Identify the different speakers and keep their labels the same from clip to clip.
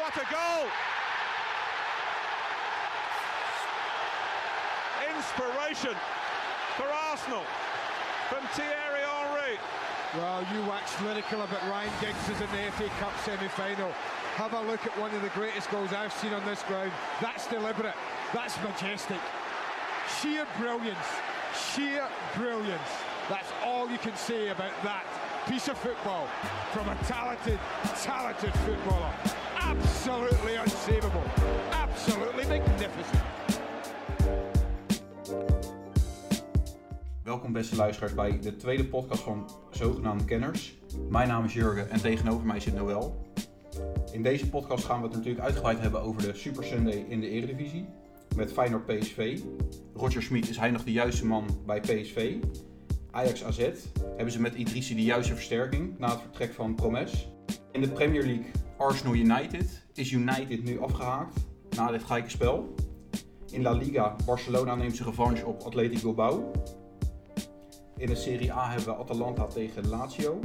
Speaker 1: What a goal! Inspiration for Arsenal from Thierry Henry.
Speaker 2: Well, Oh, you wax lyrical about Ryan Giggs is in the FA Cup semi-final. Have a look at one of the greatest goals I've seen on this ground. That's deliberate. That's majestic. Sheer brilliance. Sheer brilliance. That's all you can say about that piece of football from a talented, talented footballer. Absolutely unsavable. Absolutely magnificent.
Speaker 3: Welkom beste luisteraars bij de tweede podcast van Zogenaamde Kenners. Mijn naam is Jurgen en tegenover mij zit Noël. In deze podcast gaan we het natuurlijk uitgebreid hebben over de Super Sunday in de Eredivisie. Met Feyenoord PSV. Roger Schmid is hij nog de juiste man bij PSV. Ajax AZ hebben ze met Idrissi de juiste versterking na het vertrek van Promes. In de Premier League Arsenal United is United nu afgehaakt na dit gelijke spel. In La Liga Barcelona neemt zijn revanche op Atletico Bilbao. In de Serie A hebben we Atalanta tegen Lazio.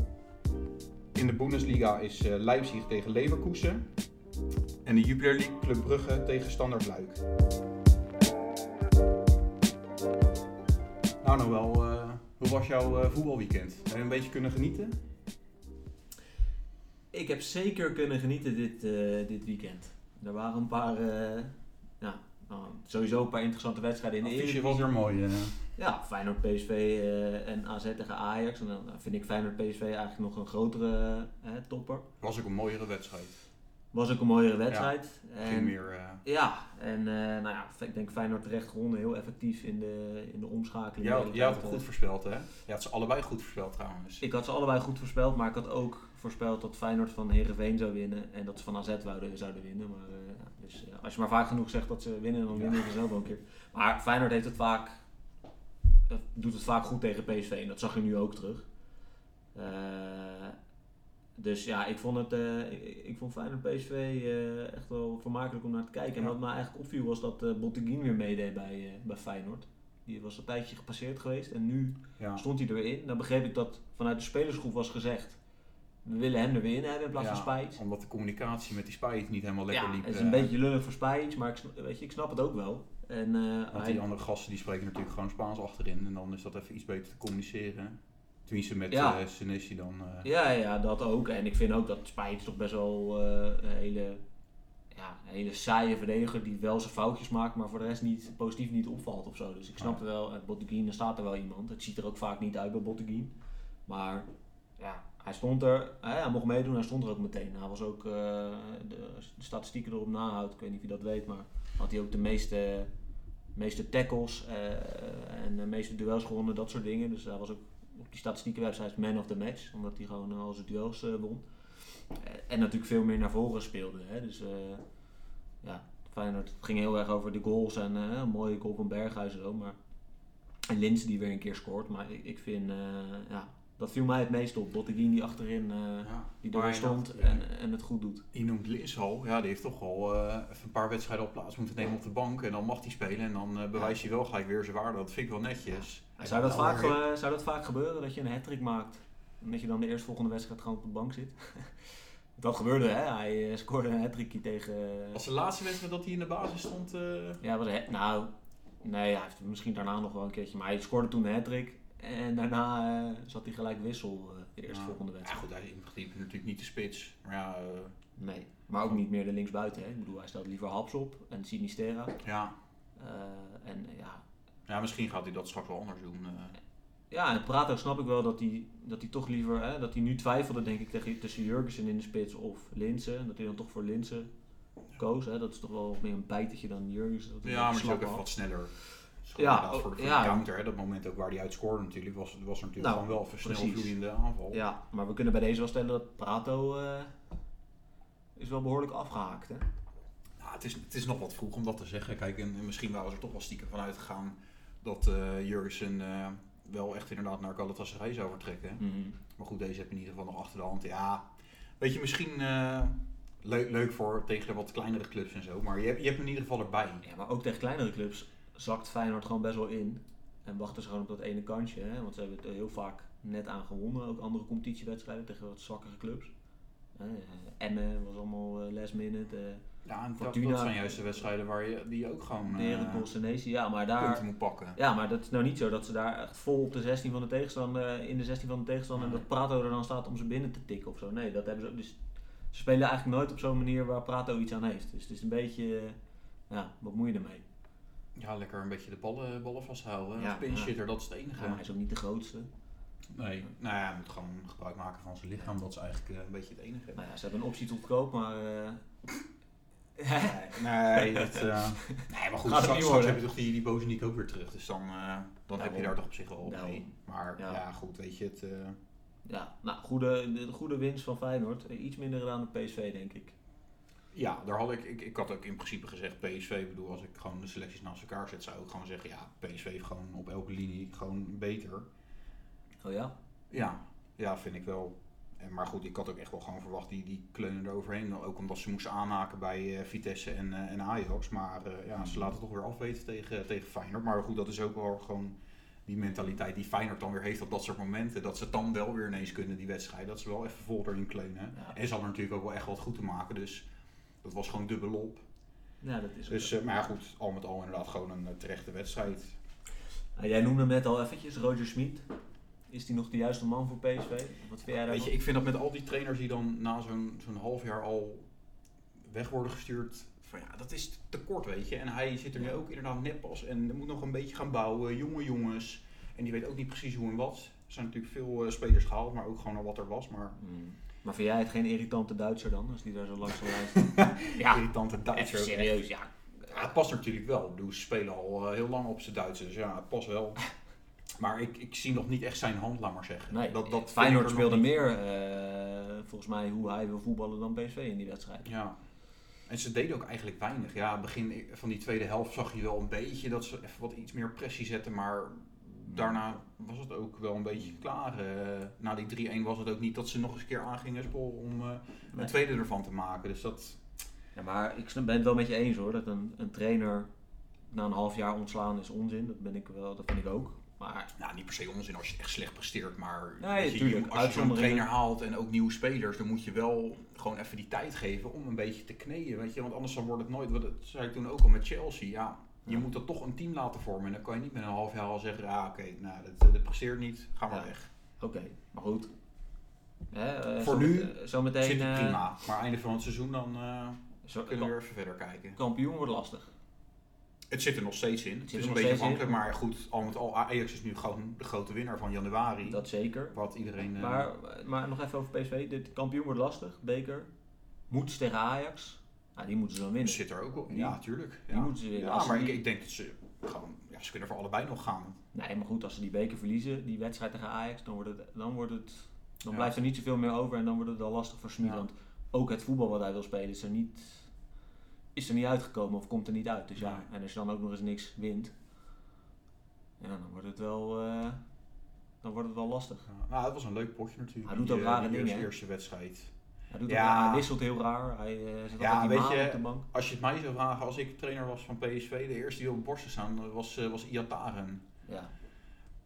Speaker 3: In de Bundesliga is eh, Leipzig tegen Leverkusen. En de Jupiler League Club Brugge tegen Standard Luik. Nou Noël, eh, hoe was jouw eh, voetbalweekend? Heb je een beetje kunnen genieten?
Speaker 4: Ik heb zeker kunnen genieten dit, eh, dit weekend. Er waren een paar, eh, ja, nou, sowieso een paar interessante wedstrijden in de
Speaker 3: Affiche
Speaker 4: Eredivisie.
Speaker 3: was er mooi. eh.
Speaker 4: Ja, Feyenoord PSV eh, en AZ tegen Ajax. En dan eh, vind ik Feyenoord PSV eigenlijk nog een grotere eh, topper.
Speaker 3: Was ook een mooiere wedstrijd.
Speaker 4: Was ook een mooiere wedstrijd.
Speaker 3: Ging
Speaker 4: en,
Speaker 3: meer, eh,
Speaker 4: ja, en eh, nou ja, ik denk Feyenoord terecht gewonnen. Heel effectief in de, in de omschakeling.
Speaker 3: jij, had- jij had het
Speaker 4: Eh,
Speaker 3: goed voorspeld hè? Je had ze allebei goed voorspeld trouwens.
Speaker 4: Dus Ik had ze allebei goed voorspeld, maar ik had ook voorspeld dat Feyenoord van Herenveen zou winnen en dat ze van AZ wouden, zouden winnen. Maar, eh, ja, dus, eh, als je maar vaak genoeg zegt dat ze winnen, dan winnen ze zelf wel een keer. Maar Feyenoord heeft het vaak, eh, doet het vaak goed tegen PSV en dat zag je nu ook terug. Eh, dus ja, ik vond, het, eh, ik, ik vond Feyenoord PSV eh, echt wel vermakelijk om naar te kijken. En
Speaker 3: Ja.
Speaker 4: wat mij eigenlijk opviel was dat eh Botteguin weer meedeed bij, eh, bij Feyenoord. Die was een tijdje gepasseerd geweest en nu
Speaker 3: Ja.
Speaker 4: stond hij erin. Dan begreep ik dat vanuit de spelersgroep was gezegd: we willen hem er weer in hebben in plaats
Speaker 3: Ja,
Speaker 4: van Spijs.
Speaker 3: Omdat de communicatie met die Spijt niet helemaal lekker
Speaker 4: Ja,
Speaker 3: liep.
Speaker 4: het is
Speaker 3: eh.
Speaker 4: een beetje lullig voor Spijs, maar ik, sn- weet je, ik snap het ook wel. En, eh,
Speaker 3: Want
Speaker 4: hij-
Speaker 3: die andere gasten die spreken natuurlijk gewoon Spaans achterin. En dan is dat even iets beter te communiceren. Tenminste met
Speaker 4: Ja.
Speaker 3: eh Senesi dan. eh,
Speaker 4: ja, ja, dat ook. En ik vind ook dat Spijs toch best wel eh, een hele, ja, een hele saaie verdediger die wel zijn foutjes maakt, maar voor de rest niet, positief niet opvalt of zo. Dus ik snap
Speaker 3: Ja.
Speaker 4: het wel, eh, Botteguin, dan staat er wel iemand. Het ziet er ook vaak niet uit bij Botteguin. Maar ja, hij stond er, hè, hij mocht meedoen, hij stond er ook meteen. Hij was ook, eh, de, de statistieken erop nahoudt, ik weet niet of je dat weet, maar had hij ook de meeste, meeste tackles eh, en de meeste duels gewonnen, dat soort dingen. Dus hij was ook op die statistieke website man of the match, omdat hij gewoon eh, al zijn duels eh, won. Eh, en natuurlijk veel meer naar voren speelde. Hè? Dus eh ja, Feyenoord het ging heel erg over de goals en eh, een mooie goal van Berghuis en zo, maar en Linz die weer een keer scoort, maar ik, ik vind, eh, ja, dat viel mij het meest op. Botteguin die achterin, eh,
Speaker 3: Ja.
Speaker 4: die
Speaker 3: Maar
Speaker 4: door
Speaker 3: je
Speaker 4: stond
Speaker 3: dacht,
Speaker 4: en, en het goed doet.
Speaker 3: Je noemt Linshal. Ja, die heeft toch al eh, even een paar wedstrijden op plaats moeten nemen op de bank. En dan mag hij spelen. En dan eh, bewijst hij wel gelijk weer zijn waarde. Dat vind ik wel netjes.
Speaker 4: Zou dat,
Speaker 3: Nou,
Speaker 4: vaak,
Speaker 3: weer-
Speaker 4: eh, zou dat vaak gebeuren, dat je een hat-trick maakt en dat je dan de eerstvolgende wedstrijd gewoon op de bank zit? dat gebeurde, hè? Hij eh, scoorde een hat-trickje tegen... eh,
Speaker 3: Was de laatste wedstrijd dat hij in de basis stond? eh,
Speaker 4: Ja, was een hat- nou, nee, hij heeft misschien daarna nog wel een keertje, maar hij scoorde toen een hat-trick en daarna eh, zat hij gelijk wissel eh, de eerstvolgende
Speaker 3: Ja,
Speaker 4: wedstrijd.
Speaker 3: goed, hij is in principe natuurlijk niet de spits. Maar ja, eh,
Speaker 4: Nee, maar ook niet meer de linksbuiten, hè? Ik bedoel, hij stelt liever Haps op en Sinistera.
Speaker 3: ja.
Speaker 4: Eh, en eh, ja,
Speaker 3: ja, misschien gaat hij dat straks wel anders doen. eh.
Speaker 4: ja, en Prato snap ik wel dat hij, dat hij toch liever, hè, dat hij nu twijfelde denk ik tegen, tussen Jurgensen in de spits of Linsen. Dat hij dan toch voor Linsen koos. Hè. Dat is toch wel meer een bijtetje dan Jurgensen. dat hij
Speaker 3: Ja, maar het is ook
Speaker 4: slap
Speaker 3: even
Speaker 4: had.
Speaker 3: wat sneller. Het is
Speaker 4: Ja,
Speaker 3: gewoon inderdaad voor de, voor de
Speaker 4: ja.
Speaker 3: counter, hè, dat moment ook waar hij uitscoorde natuurlijk, was, was er natuurlijk
Speaker 4: Nou,
Speaker 3: gewoon wel even snel
Speaker 4: precies.
Speaker 3: vloeiende aanval.
Speaker 4: Ja, maar we kunnen bij deze wel stellen dat Prato eh, is wel behoorlijk afgehaakt. Hè?
Speaker 3: Nou, het, is, het is nog wat vroeg om dat te zeggen. Kijk, en, en misschien waren ze er toch wel stiekem van uitgegaan dat eh Jurgensen eh, wel echt inderdaad naar Galatasaray zou
Speaker 4: Hm.
Speaker 3: vertrekken. Maar goed, deze heb je in ieder geval nog achter de hand. Ja, weet je, misschien eh, leuk, leuk voor tegen de wat kleinere clubs en zo, maar je, hebt- je hebt hem in ieder geval erbij.
Speaker 4: Ja, maar ook tegen kleinere clubs zakt Feyenoord gewoon best wel in. En wachten ze gewoon op dat ene kansje. Hè? Want ze hebben het er heel vaak net aan gewonnen. Ook andere competitiewedstrijden tegen wat zwakkere clubs. Eh, Emmen was allemaal eh, last minute. eh
Speaker 3: Ja, en dat,
Speaker 4: Fortuna.
Speaker 3: dat zijn juist de wedstrijden waar je die ook gewoon eh,
Speaker 4: Heracles en Nees. Ja, maar daar...
Speaker 3: punten moet pakken.
Speaker 4: Ja, maar dat is nou niet zo dat ze daar echt vol op de 16 van de tegenstander, eh, in de 16 van de tegenstander, en dat Prato er dan staat om ze binnen te tikken of zo. Nee, dat hebben ze ook. Dus ze spelen eigenlijk nooit op zo'n manier waar Prato iets aan heeft. Dus het is een beetje, eh, ja, wat moet je ermee?
Speaker 3: Ja, lekker een beetje de ballen, ballen vasthouden.
Speaker 4: Ja,
Speaker 3: Ja, Pinshitter, dat is het enige.
Speaker 4: Ja, hij is ook niet de grootste.
Speaker 3: Nee, nou ja, hij moet gewoon gebruik maken van zijn lichaam. Dat is eigenlijk eh, een beetje het enige.
Speaker 4: Nou ja, ze hebben een optie tot koop, maar eh,
Speaker 3: Nee, nee, dat, eh, nee maar goed,
Speaker 4: Gaat het niet
Speaker 3: straks, straks
Speaker 4: worden.
Speaker 3: heb je toch die, die boze Nick ook weer terug. Dus dan, eh, dan heb je
Speaker 4: Daarom.
Speaker 3: daar toch op zich wel op
Speaker 4: Daarom.
Speaker 3: mee. Maar Nou. ja.
Speaker 4: Ja.
Speaker 3: goed, weet je het. eh,
Speaker 4: ja, nou, goede, de goede winst van Feyenoord. Eh, Iets minder gedaan dan PSV, denk ik.
Speaker 3: ja, daar had ik, ik. Ik had ook in principe gezegd PSV. Ik bedoel, als ik gewoon de selecties naast elkaar zet, zou ik gewoon zeggen: ja, PSV heeft gewoon op elke linie gewoon beter.
Speaker 4: Oh ja?
Speaker 3: Ja, ja vind ik wel. En, maar goed, ik had ook echt wel gewoon verwacht die, die kleunen eroverheen. Ook omdat ze moesten aanhaken bij eh, Vitesse en, eh, en Ajax. Maar eh, ja, ze laten het toch weer afweten tegen, tegen Feyenoord. Maar goed, dat is ook wel gewoon die mentaliteit die Feyenoord dan weer heeft op dat soort momenten. Dat ze het dan wel weer ineens kunnen, die wedstrijd. Dat ze wel even vol erin kleunen.
Speaker 4: Ja.
Speaker 3: En ze hadden natuurlijk ook wel echt wat goed te maken. Dus dat was gewoon dubbel op.
Speaker 4: Ja, dat is ook
Speaker 3: Dus,
Speaker 4: zo.
Speaker 3: eh, maar ja, goed, al met al inderdaad gewoon een eh, terechte wedstrijd.
Speaker 4: Nou, jij noemde hem net al eventjes, Roger Schmid. Is die nog de juiste man voor PSV? Wat vind jij daarvan?
Speaker 3: Weet je, ik vind dat met al die trainers die dan na zo'n zo'n half jaar al weg worden gestuurd. Van ja, dat is te kort, weet je. En hij zit er nu ook inderdaad net pas en moet nog een beetje gaan bouwen. Jonge jongens. En die weet ook niet precies hoe en wat. Er zijn natuurlijk veel eh, spelers gehaald, maar ook gewoon al wat er was. Maar
Speaker 4: Hmm. Maar vind jij het geen irritante Duitser dan, als die daar zo langs de lijst staat? ja,
Speaker 3: irritante
Speaker 4: even
Speaker 3: Duitsers.
Speaker 4: serieus, ja.
Speaker 3: Ja, het past natuurlijk wel. Ik bedoel, ze spelen al eh, heel lang op zijn Duitsers. Dus ja, het past wel. Maar ik, ik zie nog niet echt zijn hand, laat maar zeggen.
Speaker 4: Nee, eh,
Speaker 3: dat, dat vind ik
Speaker 4: Feyenoord
Speaker 3: er nog
Speaker 4: speelde
Speaker 3: niet.
Speaker 4: meer, eh, volgens mij, hoe hij wil voetballen dan PSV in die wedstrijd.
Speaker 3: Ja. En ze deden ook eigenlijk weinig. Ja, begin van die tweede helft zag je wel een beetje dat ze even wat iets meer pressie zetten. Maar daarna was het ook wel een beetje klaar. Eh, na die 3-1 was het ook niet dat ze nog eens een keer aangingen sporen om eh, een
Speaker 4: Nee.
Speaker 3: tweede ervan te maken. Dus dat...
Speaker 4: Ja, maar ik snap- ben het wel met je eens hoor, dat een, een trainer na een half jaar ontslaan is onzin. Dat ben ik wel, dat vind ik ook. Maar
Speaker 3: Nou, niet per se onzin als je echt slecht presteert, maar
Speaker 4: Nee,
Speaker 3: weet je,
Speaker 4: tuurlijk,
Speaker 3: als je zo'n
Speaker 4: uitzonderingen.
Speaker 3: trainer haalt en ook nieuwe spelers, dan moet je wel gewoon even die tijd geven om een beetje te kneden, weet je, want anders dan wordt het nooit, want dat zei ik toen ook al met Chelsea, ja, je
Speaker 4: Ja.
Speaker 3: moet dat toch een team laten vormen en dan kan je niet met een half jaar al zeggen, ah oké, nou, dat, dat presteert niet, ga maar
Speaker 4: Ja.
Speaker 3: weg.
Speaker 4: oké, maar goed. Hè, eh,
Speaker 3: Voor
Speaker 4: zo
Speaker 3: nu
Speaker 4: met- eh, zo meteen,
Speaker 3: Zit het
Speaker 4: eh,
Speaker 3: prima, maar einde van het seizoen dan eh,
Speaker 4: zo-
Speaker 3: kunnen we
Speaker 4: ka-
Speaker 3: weer even verder kijken.
Speaker 4: kampioen wordt lastig.
Speaker 3: Het zit er nog steeds in, het,
Speaker 4: zit
Speaker 3: is
Speaker 4: er
Speaker 3: een
Speaker 4: nog
Speaker 3: beetje
Speaker 4: steeds in.
Speaker 3: afhankelijk, maar goed, al met al, Ajax is nu gewoon de grote winnaar van januari,
Speaker 4: Dat zeker.
Speaker 3: wat iedereen... eh,
Speaker 4: Maar, maar nog even over PSV. Dit kampioen wordt lastig. Beker. Moet ze tegen Ajax. Ja, die moeten ze dan winnen.
Speaker 3: zit er ook op.
Speaker 4: Die-
Speaker 3: Ja, tuurlijk.
Speaker 4: die
Speaker 3: ja.
Speaker 4: moeten ze winnen.
Speaker 3: Ja,
Speaker 4: Als ze
Speaker 3: maar
Speaker 4: die-
Speaker 3: ik, ik denk dat ze gewoon, ja, ze kunnen voor allebei nog gaan.
Speaker 4: Nee, maar goed, als ze die beker verliezen, die wedstrijd tegen Ajax, dan, wordt het, dan, wordt het, dan
Speaker 3: Ja.
Speaker 4: blijft er niet zoveel meer over en dan wordt het al lastig voor Smit.
Speaker 3: Ja.
Speaker 4: Want ook het voetbal wat hij wil spelen is er niet, is er niet uitgekomen of komt er niet uit. Dus ja,
Speaker 3: Nee.
Speaker 4: en als je dan ook nog eens niks wint, ja, dan wordt het wel, eh, dan wordt het wel lastig.
Speaker 3: Ja, nou, het was een leuk potje natuurlijk.
Speaker 4: Hij doet
Speaker 3: die,
Speaker 4: ook
Speaker 3: eh, die
Speaker 4: rare dingen,
Speaker 3: eerste,
Speaker 4: hè?
Speaker 3: eerste wedstrijd.
Speaker 4: Hij, doet
Speaker 3: Ja.
Speaker 4: ook, hij wisselt heel raar, hij eh, zet
Speaker 3: Ja,
Speaker 4: altijd die
Speaker 3: weet
Speaker 4: maan
Speaker 3: je-
Speaker 4: op de bank.
Speaker 3: Als je het mij zou vragen, als ik trainer was van PSV, de eerste die op het borsten staan eh, was, eh, was Iataren.
Speaker 4: Ja.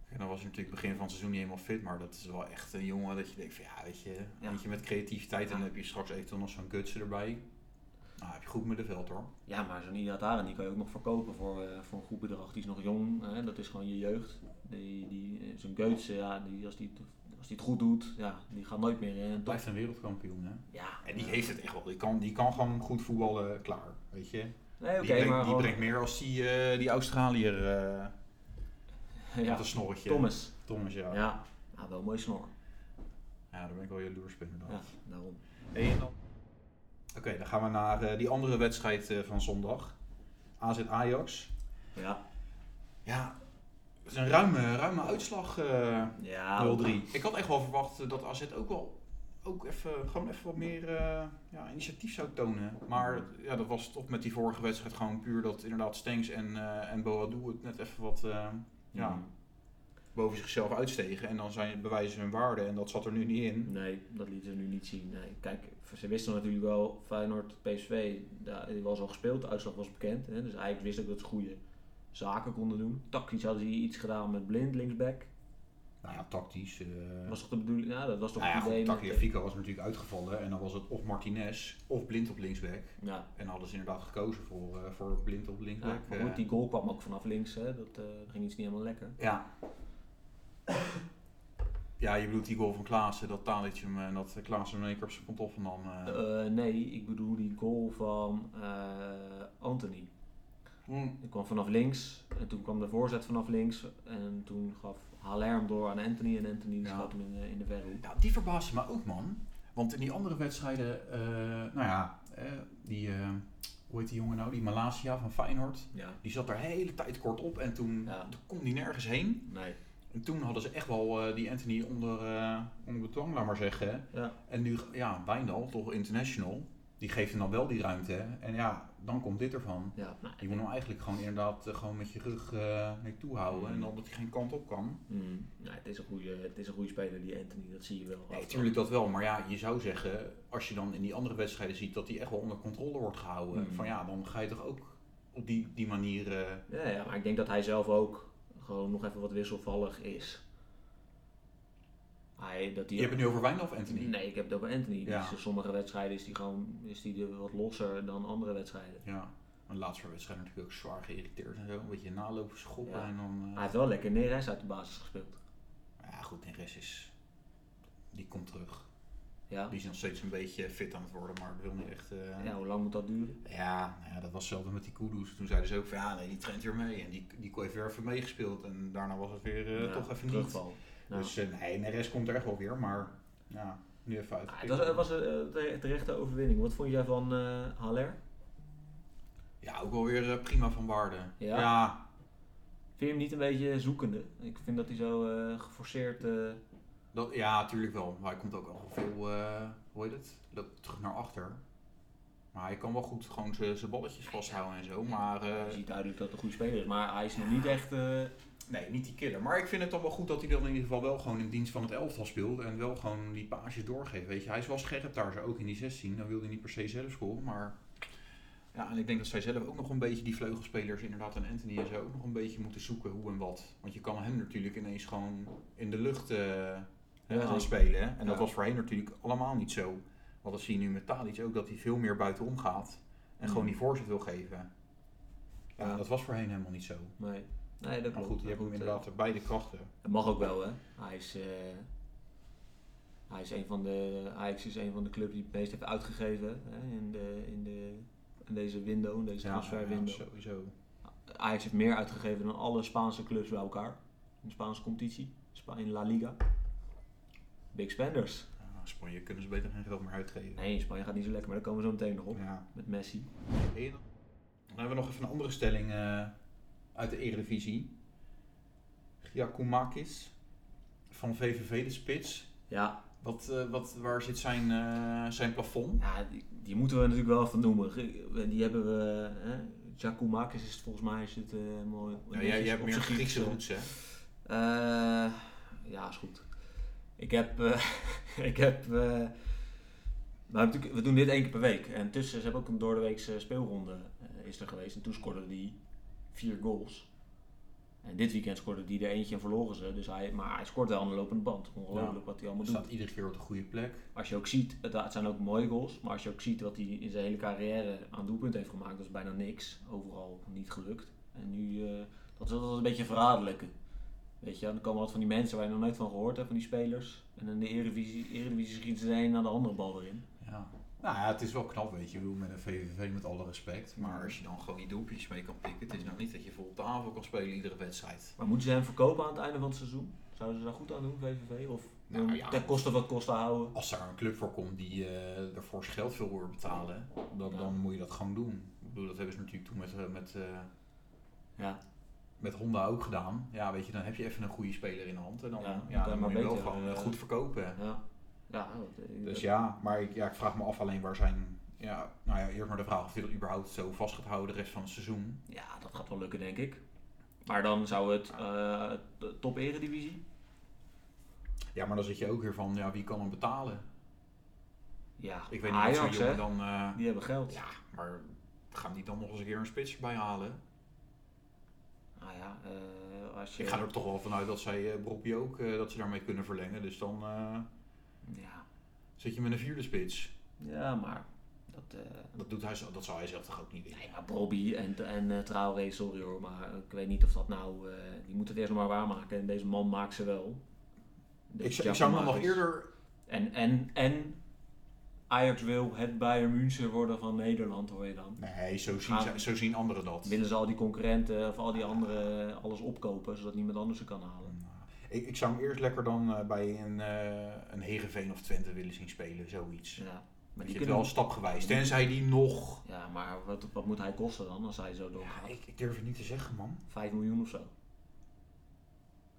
Speaker 3: En dan was hij natuurlijk begin van het seizoen niet helemaal fit, maar dat is wel echt een jongen dat je denkt van ja, weet je,
Speaker 4: Ja.
Speaker 3: weet je met creativiteit en
Speaker 4: Ja.
Speaker 3: dan heb je straks eventueel nog zo'n gutsen erbij. Nou, heb je goed middenveld hoor.
Speaker 4: ja, maar zo'n Iataren die kan je ook nog verkopen voor, eh, voor een goed bedrag. Die is nog jong, hè? dat is gewoon je jeugd. Die, die, eh, zo'n Geutse, ja, die, als, die, het- als die het goed doet, ja, die gaat nooit meer eh, in.
Speaker 3: Blijft een wereldkampioen hè.
Speaker 4: Ja,
Speaker 3: En die heeft het echt wel. Die kan, die kan gewoon goed voetballen, klaar. Weet je.
Speaker 4: Nee, oké,
Speaker 3: die, brengt,
Speaker 4: maar
Speaker 3: die
Speaker 4: gewoon...
Speaker 3: brengt meer als die, eh, die Australiër eh,
Speaker 4: ja,
Speaker 3: met een snorretje.
Speaker 4: Thomas.
Speaker 3: Thomas, ja.
Speaker 4: Ja.
Speaker 3: ja.
Speaker 4: Nou, wel een mooi snor.
Speaker 3: daar ben ik wel jaloers op inderdaad.
Speaker 4: Ja, daarom.
Speaker 3: Hey, en dan- Oké, dan gaan we naar eh, die andere wedstrijd eh, van zondag. AZ Ajax.
Speaker 4: Ja.
Speaker 3: Ja, het is een ruime, ruime uitslag eh,
Speaker 4: Ja.
Speaker 3: 0-3. Ik had echt wel verwacht eh, dat AZ ook wel ook even, gewoon even wat meer eh, ja, initiatief zou tonen. Maar ja, dat was toch met die vorige wedstrijd gewoon puur dat inderdaad Stenks en, eh, en Boadu het net even wat... eh, ja,
Speaker 4: Mm.
Speaker 3: boven zichzelf uitstegen. En dan zijn, bewijzen ze hun waarde. En dat zat er nu niet in.
Speaker 4: Nee, dat lieten ze nu niet zien. Nee. Kijk, ze wisten natuurlijk wel, Feyenoord, PSV, daar- die was al gespeeld, de uitslag was bekend. Hè? Dus Ajax wist ook dat ze goede zaken konden doen. Tactisch hadden ze iets gedaan met Blind, linksback.
Speaker 3: Nou ja, tactisch. eh
Speaker 4: Dat was toch de bedoeling? Ja, dat was toch
Speaker 3: nou ja,
Speaker 4: het idee.
Speaker 3: goed,
Speaker 4: met-
Speaker 3: Tagliafico was natuurlijk uitgevallen en dan was het of Martinez of Blind op linksback.
Speaker 4: ja.
Speaker 3: En hadden ze inderdaad gekozen voor, eh, voor Blind op
Speaker 4: Ja,
Speaker 3: linksback.
Speaker 4: maar
Speaker 3: eh.
Speaker 4: goed, die goal kwam ook vanaf links, hè. dat eh, ging iets niet helemaal lekker.
Speaker 3: Ja. Ja, je bedoelt die goal van Klaassen, dat Talitje hem en dat Klaassen hem in één keer op zijn pantoffel nam. eh.
Speaker 4: Eh, nee, ik bedoel die goal van eh, Anthony.
Speaker 3: Mm.
Speaker 4: Die kwam vanaf links en toen kwam de voorzet vanaf links en toen gaf Haller hem door aan Anthony en Anthony
Speaker 3: Ja.
Speaker 4: schoot hem in, de- in de verre hoek.
Speaker 3: Ja, die verbaasde me ook, man. Want in die andere wedstrijden, eh, nou ja, eh, die, eh, hoe heet die jongen nou? Die Malasia van Feyenoord.
Speaker 4: Ja,
Speaker 3: Die zat er hele tijd kort op en toen,
Speaker 4: Ja.
Speaker 3: toen kon die nergens heen.
Speaker 4: nee.
Speaker 3: En toen hadden ze echt wel eh, die Anthony onder, eh onder bedwang, laat maar zeggen.
Speaker 4: Ja.
Speaker 3: En nu, ja, Wijndal, toch international, die geeft hem dan wel die ruimte. hè. En ja, dan komt dit ervan.
Speaker 4: Ja, nou,
Speaker 3: Je moet hem eigenlijk gewoon inderdaad eh, gewoon met je rug eh naartoe houden en dan dat hij geen kant op kan.
Speaker 4: mm, nee, het, is een goede, het is een goede speler die Anthony, dat zie je wel.
Speaker 3: Nee, tuurlijk dat wel, maar ja, je zou zeggen, als je dan in die andere wedstrijden ziet dat hij echt wel onder controle wordt gehouden,
Speaker 4: Mhm.
Speaker 3: van ja, dan ga je toch ook op die, die manier. eh,
Speaker 4: Ja, ja, maar ik denk dat hij zelf ook gewoon nog even wat wisselvallig is. Hij, dat hij
Speaker 3: Je hebt het nu over Wijndal of Anthony?
Speaker 4: Nee, ik heb het over Anthony. Die
Speaker 3: Ja.
Speaker 4: is- sommige wedstrijden is die gewoon is die er wat losser dan andere wedstrijden.
Speaker 3: Ja, een laatste wedstrijd natuurlijk ook zwaar geïrriteerd en zo, een beetje nalopen schoppen
Speaker 4: Ja.
Speaker 3: en dan.
Speaker 4: Hij
Speaker 3: eh,
Speaker 4: heeft wel lekker Neres uit de basis gespeeld.
Speaker 3: ja, goed, en rest is. Die komt terug.
Speaker 4: Ja,
Speaker 3: Die is nog steeds een beetje fit aan het worden, maar dat wil niet echt. eh,
Speaker 4: ja hoe lang moet dat duren?
Speaker 3: Ja, nou ja, dat was hetzelfde met die Kudus. Toen zeiden ze ook van ja, nee, die trent weer mee. En die, die heeft weer even meegespeeld. En daarna was het weer eh,
Speaker 4: Ja,
Speaker 3: toch even niet.
Speaker 4: terugval. Nou,
Speaker 3: Dus eh, nee, en de rest komt er echt wel weer. Maar ja, nu even uit.
Speaker 4: ah, het was, het was een eh, tere- terechte overwinning. Wat vond jij van eh, Haller?
Speaker 3: Ja, ook wel weer eh, prima van waarde.
Speaker 4: Ja.
Speaker 3: Ja.
Speaker 4: Vind je hem niet een beetje zoekende? Ik vind dat hij zo eh, geforceerd... eh,
Speaker 3: dat, ja, tuurlijk wel. Maar hij komt ook al veel, eh, hoe heet het, loopt terug naar achter. Maar hij kan wel goed gewoon zijn balletjes vasthouden en zo. Maar
Speaker 4: je
Speaker 3: eh,
Speaker 4: ziet duidelijk dat het een goede speler is, maar hij is nog niet echt... eh,
Speaker 3: Nee, niet die killer. Maar ik vind het dan wel goed dat hij dan in ieder geval wel gewoon in dienst van het elftal speelt. En wel gewoon die paasjes doorgeeft. Weet je, hij is wel scherp daar, zo ook in die 16. Dan wilde hij niet per se zelf scoren. Maar ja, en ik denk dat zij zelf ook nog een beetje die vleugelspelers, inderdaad, en Anthony en zo ook nog een beetje moeten zoeken hoe en wat. Want je kan hem natuurlijk ineens gewoon in de lucht eh, hè,
Speaker 4: zeker.
Speaker 3: aanspelen. hè. En dat
Speaker 4: Ja.
Speaker 3: was voorheen natuurlijk allemaal niet zo. Want dat zie je nu met Tadic ook, dat hij veel meer buitenom gaat. En
Speaker 4: Mm.
Speaker 3: gewoon die voorzet wil geven. Ja,
Speaker 4: Ja.
Speaker 3: dat was voorheen helemaal niet zo.
Speaker 4: nee. nee,
Speaker 3: Maar
Speaker 4: dat klopt.
Speaker 3: goed, je hebt hem
Speaker 4: eh,
Speaker 3: inderdaad beide krachten.
Speaker 4: Dat mag ook wel, hè? Hij is, eh, hij is een van de. Ajax is een van de clubs die het meest heeft uitgegeven hè, in, de, in, de, in deze window, in
Speaker 3: Dus
Speaker 4: deze transferwindow.
Speaker 3: sowieso.
Speaker 4: Ajax heeft meer uitgegeven dan alle Spaanse clubs bij elkaar. In de Spaanse competitie, Spa- in La Liga. Big spenders.
Speaker 3: Ja, Spanje kunnen ze beter geen geld meer uitgeven.
Speaker 4: Nee, Spanje gaat niet zo lekker, maar daar komen we zo meteen nog op.
Speaker 3: Ja.
Speaker 4: Met Messi.
Speaker 3: En Dan hebben we nog even een andere stelling eh, uit de Eredivisie. Giacomakis van VVV, de spits.
Speaker 4: Ja,
Speaker 3: Wat, eh, wat, waar zit zijn, eh, zijn plafond?
Speaker 4: ja die, die moeten we natuurlijk wel even noemen. Ge- Die hebben we. Hè? Giacoumakis is het volgens mij is het, eh, mooi.
Speaker 3: Ja, jij, jij hebt
Speaker 4: Op
Speaker 3: meer
Speaker 4: zijn
Speaker 3: Griekse
Speaker 4: Grieks, eh,
Speaker 3: roots, hè?
Speaker 4: Eh, ja, is goed. Ik heb. eh, ik heb eh, maar natuurlijk, we doen dit één keer per week. En tussen, ze hebben ook een doordeweekse speelronde eh, is er geweest. En toen scoorde die vier goals. En dit weekend scoorde die er eentje en verloren ze. Dus hij, maar hij scoort wel aan de lopende band. Ongelooflijk
Speaker 3: Ja.
Speaker 4: wat hij allemaal doet.
Speaker 3: Staat iedere keer op de goede plek.
Speaker 4: Als je ook ziet, het, het zijn ook mooie goals. Maar als je ook ziet wat hij in zijn hele carrière aan doelpunt heeft gemaakt. Dat is bijna niks. Overal niet gelukt. En nu, eh, dat is altijd een beetje verraderlijke. Weet je, dan komen wat van die mensen waar je nog nooit van gehoord hebt, van die spelers. En in de Eredivisie, Eredivisie schieten ze de een naar de andere bal erin.
Speaker 3: Ja. Nou ja, het is wel knap, weet je, hoe met een VVV met alle respect. Maar als je dan gewoon die doelpuntjes mee kan pikken, het is nou niet dat je vol op de aanval kan spelen iedere wedstrijd.
Speaker 4: Maar moeten ze hem verkopen aan het einde van het seizoen? Zouden ze daar goed aan doen, VVV? Of
Speaker 3: Nou
Speaker 4: eh,
Speaker 3: ja.
Speaker 4: ten koste van kosten houden?
Speaker 3: Als daar een club voor komt die eh er fors geld veel voor betalen, dan,
Speaker 4: Ja.
Speaker 3: dan moet je dat gewoon doen. Ik bedoel, dat hebben ze natuurlijk toen met, eh, met, eh,
Speaker 4: Ja,
Speaker 3: met Honda ook gedaan. Ja, weet je, dan heb je even een goede speler in de hand en dan,
Speaker 4: Ja,
Speaker 3: ja, dan,
Speaker 4: dan kan je maar
Speaker 3: moet je wel
Speaker 4: beter,
Speaker 3: gewoon eh,
Speaker 4: eh,
Speaker 3: goed verkopen.
Speaker 4: ja. Ja, dat, eh,
Speaker 3: Dus ja, maar ik, ja, ik vraag me af alleen waar zijn... Ja, nou ja, eerst maar de vraag of hij dat überhaupt zo vast gaat houden de rest van het seizoen.
Speaker 4: Ja, dat gaat wel lukken, denk ik. Maar dan zou het eh, de top Eredivisie.
Speaker 3: Ja, maar dan zit je ook weer van, ja, wie kan hem betalen?
Speaker 4: Ja,
Speaker 3: Ik weet niet of
Speaker 4: Ajax,
Speaker 3: zo'n jongen
Speaker 4: hè?
Speaker 3: dan... eh,
Speaker 4: Die hebben geld.
Speaker 3: ja, maar gaan die dan nog eens een keer een spits erbij halen?
Speaker 4: Nou ja, eh, als je...
Speaker 3: Ik ga er toch wel vanuit dat zij eh Broppie ook, eh, dat ze daarmee kunnen verlengen. Dus dan eh,
Speaker 4: ja.
Speaker 3: zit je met een vierde spits.
Speaker 4: ja, maar dat... eh,
Speaker 3: Dat, doet hij, zo- dat zou hij zelf toch ook niet willen.
Speaker 4: Nee, maar Bobby en, en eh, Traoré, sorry hoor, maar ik weet niet of dat nou... eh, die moeten het eerst nog maar waarmaken en deze man maakt ze wel. Dus
Speaker 3: Ik, zou- ik
Speaker 4: Giacomo
Speaker 3: zou hem nog
Speaker 4: is-
Speaker 3: eerder...
Speaker 4: En, en, en Ajax wil het Bayern München worden van Nederland, hoor je dan.
Speaker 3: Nee, zo zien,
Speaker 4: Gaan-
Speaker 3: zo zien anderen dat.
Speaker 4: Willen ze al die concurrenten of al die anderen alles opkopen, zodat niemand anders ze kan halen.
Speaker 3: Ik, ik zou hem eerst lekker dan eh, bij een, eh een Heerenveen of Twente willen zien spelen, zoiets.
Speaker 4: Ja, maar
Speaker 3: maar
Speaker 4: die
Speaker 3: die
Speaker 4: kunnen-
Speaker 3: wel stapgewijs. Tenzij die nog...
Speaker 4: Ja, maar wat, wat moet hij kosten dan als hij zo doorgaat?
Speaker 3: Ik, ik durf het niet te zeggen, man.
Speaker 4: 5 miljoen of zo.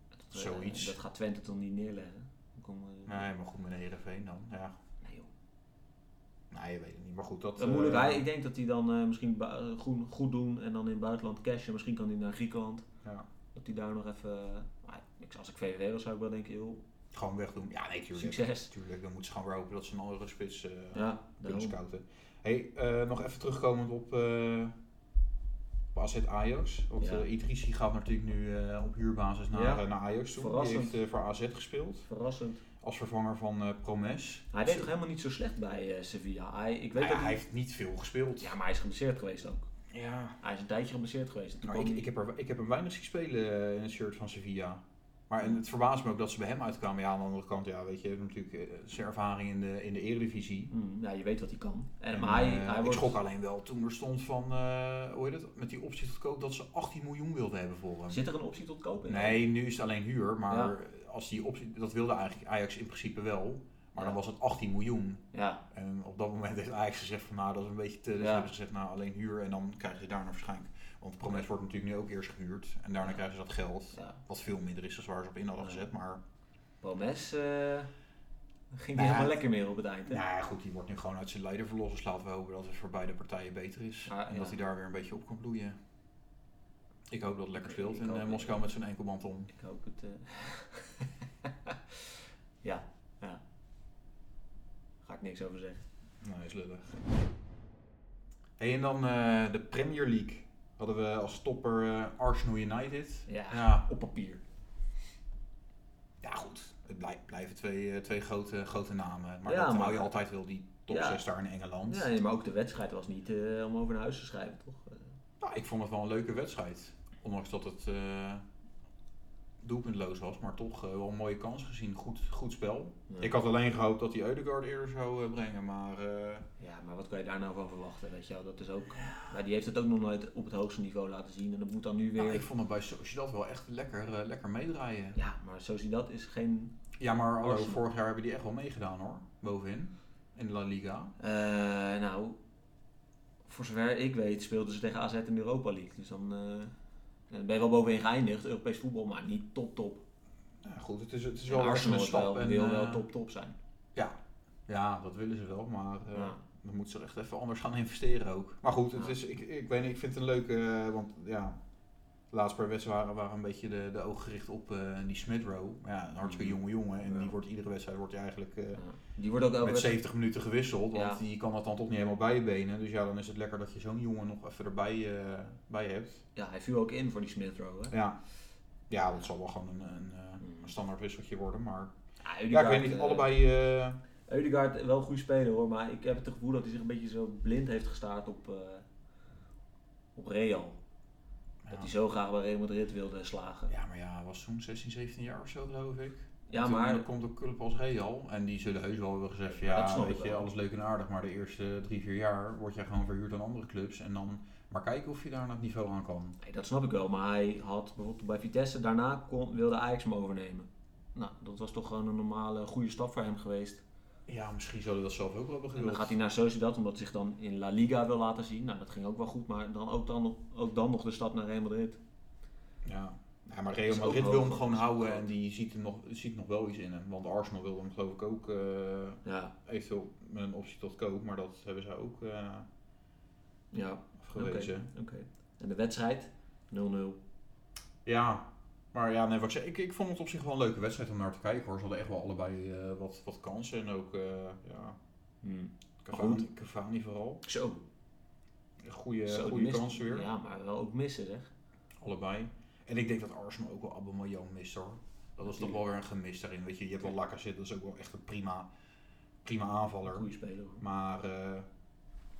Speaker 4: Dat, eh,
Speaker 3: Zoiets.
Speaker 4: Dat gaat Twente toch niet neerleggen? Dan komen-
Speaker 3: Nee, maar goed, met een Heerenveen dan. Ja.
Speaker 4: Nee, joh.
Speaker 3: Nee, je weet het niet. Maar goed, dat...
Speaker 4: Dat is moeilijk.
Speaker 3: eh,
Speaker 4: Hij- ik denk dat hij dan eh, misschien bu- eh, goed, goed doen en dan in het buitenland cashen. Misschien kan hij naar Griekenland.
Speaker 3: Ja.
Speaker 4: Dat hij daar nog even... eh, maar ik, als ik VVD was, zou ik wel denken, joh,
Speaker 3: Gewoon wegdoen. Ja, nee, tuurlijk.
Speaker 4: Succes.
Speaker 3: Tuurlijk, dan moeten ze gewoon weer hopen dat ze een andere spits eh
Speaker 4: Ja,
Speaker 3: kunnen
Speaker 4: daarom.
Speaker 3: scouten. hey, eh, nog even terugkomend op, eh op AZ Ajax. Want
Speaker 4: Ja.
Speaker 3: eh, Idrissi gaat natuurlijk nu eh, op huurbasis naar,
Speaker 4: Ja.
Speaker 3: eh, naar Ajax toe. Die
Speaker 4: Verrassend.
Speaker 3: heeft eh, voor AZ gespeeld.
Speaker 4: Verrassend.
Speaker 3: Als vervanger van eh, Promes.
Speaker 4: Hij deed toch helemaal niet zo slecht bij eh, Sevilla? Hij, ik weet
Speaker 3: Nou ja,
Speaker 4: dat
Speaker 3: hij
Speaker 4: hij...
Speaker 3: heeft niet veel gespeeld.
Speaker 4: Ja, maar hij is geblesseerd geweest ook.
Speaker 3: Ja.
Speaker 4: Hij is een tijdje geblesseerd geweest. Toen
Speaker 3: Maar
Speaker 4: kwam
Speaker 3: Nou, ik,
Speaker 4: hij-
Speaker 3: ik, heb er, ik heb hem weinig zien spelen eh, in het shirt van Sevilla. Maar en het verbaast me ook dat ze bij hem uitkwamen. Ja, aan de andere kant, ja, weet je, natuurlijk eh, zijn ervaring in de, in de eredivisie.
Speaker 4: Mm, ja, je weet wat hij kan. En,
Speaker 3: En,
Speaker 4: maar hij,
Speaker 3: eh,
Speaker 4: hij
Speaker 3: Ik
Speaker 4: wordt...
Speaker 3: schrok alleen wel toen er stond van, eh, hoe heet het, met die optie tot koop dat ze 18 miljoen wilden hebben voor hem.
Speaker 4: Zit er een optie tot koop in?
Speaker 3: Nee, nu is het alleen huur, maar als die optie, dat wilde eigenlijk Ajax in principe wel. Maar dan
Speaker 4: Ja.
Speaker 3: was het 18 miljoen.
Speaker 4: Ja,
Speaker 3: En op dat moment heeft Ajax gezegd van, nou dat is een beetje te... Dus
Speaker 4: Ja.
Speaker 3: hebben ze gezegd, nou alleen huur en dan krijgen ze daarna waarschijnlijk... Want Promes wordt natuurlijk nu ook eerst gehuurd en daarna
Speaker 4: Ja.
Speaker 3: krijgen ze dat geld.
Speaker 4: ja.
Speaker 3: Wat veel minder is dan waar ze op in hadden
Speaker 4: Ja.
Speaker 3: gezet, maar...
Speaker 4: Promes eh, ging
Speaker 3: Nou Ja.
Speaker 4: niet helemaal lekker meer op het eind. hè?
Speaker 3: Nou ja, goed, die wordt nu gewoon uit zijn leider verlost. Dus laten we hopen dat het voor beide partijen beter is.
Speaker 4: Ah,
Speaker 3: en
Speaker 4: ja.
Speaker 3: dat hij daar weer een beetje op kan bloeien. Ik hoop dat het lekker speelt
Speaker 4: Ik
Speaker 3: in
Speaker 4: hoop
Speaker 3: eh,
Speaker 4: het.
Speaker 3: Moskou met zijn enkelband om.
Speaker 4: Ik hoop het. eh. ja, ja. Ga ik niks over zeggen.
Speaker 3: Nou, is lullig. Hey, en dan eh, de Premier League. Hadden we als topper eh, Arsenal United.
Speaker 4: Ja,
Speaker 3: Ja.
Speaker 4: op papier.
Speaker 3: Ja, goed. Het blij- blijven twee, eh, twee grote, grote namen. Maar
Speaker 4: Ja,
Speaker 3: dat
Speaker 4: maar-
Speaker 3: hou je altijd wel, die top
Speaker 4: Ja.
Speaker 3: 6 daar in Engeland.
Speaker 4: Ja, nee, maar ook de wedstrijd was niet eh, om over naar huis te schrijven, toch? Eh,
Speaker 3: Nou, ik vond het wel een leuke wedstrijd. Ondanks dat het eh, doelpuntloos was, maar toch eh, wel een mooie kans gezien. Goed, goed spel.
Speaker 4: ja.
Speaker 3: Ik had alleen gehoopt dat hij Eudegaard eerder zou eh, brengen, maar eh,
Speaker 4: Ja, maar wat kan je daar nou van verwachten? Weet je wel, dat is ook. Maar die heeft het ook nog nooit op het hoogste niveau laten zien. En dat moet dan nu weer.
Speaker 3: nou, ik vond hem bij Sociedad wel echt lekker, eh, lekker meedraaien.
Speaker 4: Ja, maar zoals dat is geen.
Speaker 3: Ja, maar hallo,
Speaker 4: Arsenal.
Speaker 3: vorig jaar hebben die echt wel meegedaan hoor, bovenin. In La Liga.
Speaker 4: eh, nou, voor zover ik weet speelden ze tegen AZ in de Europa League. Dus dan eh, dan ben je wel bovenin geëindigd, Europees voetbal, maar niet top top.
Speaker 3: Ja, goed, het is, het is
Speaker 4: En
Speaker 3: wel weer
Speaker 4: Arsenal
Speaker 3: een
Speaker 4: is
Speaker 3: stap.
Speaker 4: wel,
Speaker 3: en,
Speaker 4: wil
Speaker 3: eh,
Speaker 4: wel top top zijn.
Speaker 3: Ja, dat willen ze wel, maar eh,
Speaker 4: Ja.
Speaker 3: dan moeten ze er echt even anders gaan investeren ook. Maar goed, het
Speaker 4: Ja.
Speaker 3: is, ik, ik weet niet, ik vind het een leuke, eh, want ja, de laatste paar wedstrijden waren, waren een beetje de, de ogen gericht op eh, die Smith Rowe. Maar Ja, een hartstikke jonge jongen en
Speaker 4: Mm. Ja.
Speaker 3: die wordt iedere wedstrijd wordt hij eigenlijk eh,
Speaker 4: Ja. Die wordt ook elke
Speaker 3: met
Speaker 4: wedstrijd-
Speaker 3: 70 minuten gewisseld, want
Speaker 4: Ja.
Speaker 3: die kan dat dan toch niet helemaal bij je benen. Dus ja, dan is het lekker dat je zo'n jongen nog even erbij eh, bij hebt.
Speaker 4: Ja, hij viel ook in voor die Smith Rowe. hè?
Speaker 3: Ja, ja dat zal wel gewoon een, een, eh,
Speaker 4: Mm.
Speaker 3: een standaard wisseltje worden, maar
Speaker 4: Ja,
Speaker 3: ja, ik
Speaker 4: Ødegaard,
Speaker 3: weet niet,
Speaker 4: eh,
Speaker 3: allebei... eh,
Speaker 4: Ødegaard wel een goede speler hoor, maar ik heb het gevoel dat hij zich een beetje zo blind heeft gestaard op, eh, op Real.
Speaker 3: Ja.
Speaker 4: Dat hij zo graag bij Real Madrid wilde slagen.
Speaker 3: Ja, maar ja, hij was toen 16, 17 jaar of zo, geloof ik.
Speaker 4: Ja,
Speaker 3: Toen
Speaker 4: maar
Speaker 3: er komt een club als Real. En die zullen heus wel hebben gezegd: van,
Speaker 4: Dat
Speaker 3: ja,
Speaker 4: snap
Speaker 3: weet
Speaker 4: ik
Speaker 3: je,
Speaker 4: wel.
Speaker 3: alles leuk en aardig. Maar de eerste drie, vier jaar word jij gewoon verhuurd aan andere clubs. En dan maar kijken of je daar aan het niveau aan kan.
Speaker 4: Nee, dat snap ik wel, maar hij had bijvoorbeeld bij Vitesse daarna kon, wilde Ajax hem overnemen. Nou, dat was toch gewoon een normale goede stap voor hem geweest.
Speaker 3: Ja, misschien zullen we dat zelf ook wel hebben
Speaker 4: En dan
Speaker 3: gewild.
Speaker 4: gaat hij naar Sociedad omdat hij zich dan in La Liga wil laten zien. Nou, dat ging ook wel goed, maar dan ook dan, ook dan nog de stap naar Real Madrid.
Speaker 3: Ja. ja, maar
Speaker 4: Dat
Speaker 3: Real
Speaker 4: is
Speaker 3: Madrid
Speaker 4: ook
Speaker 3: wil
Speaker 4: hoog.
Speaker 3: hem gewoon
Speaker 4: Dat is ook
Speaker 3: houden.
Speaker 4: hoog.
Speaker 3: En die ziet, hem nog, ziet nog wel iets in hem. Want Arsenal wilde hem, geloof ik, ook eh
Speaker 4: Ja,
Speaker 3: eventueel met een optie tot koop. Maar dat hebben zij ook eh
Speaker 4: ja,
Speaker 3: afgewezen.
Speaker 4: oké. En de wedstrijd? 0-0.
Speaker 3: Ja, maar ja, nee, wat ik, zei, ik, ik vond het op zich wel een leuke wedstrijd om naar te kijken hoor. Ze hadden echt wel allebei eh, wat, wat kansen en ook eh ja,
Speaker 4: Hmm.
Speaker 3: Cavani, Cavani vooral.
Speaker 4: Zo.
Speaker 3: Goede,
Speaker 4: Zo, die
Speaker 3: goede
Speaker 4: mist-
Speaker 3: kansen weer,
Speaker 4: Ja, maar wel ook missen zeg.
Speaker 3: allebei. En ik denk dat Arsenal ook wel Aubameyang mist hoor. Dat is toch wel weer een gemis daarin. Weet je, je hebt wel Lakker zitten, dat is ook wel echt een prima, prima aanvaller.
Speaker 4: Goede speler. hoor.
Speaker 3: Maar eh,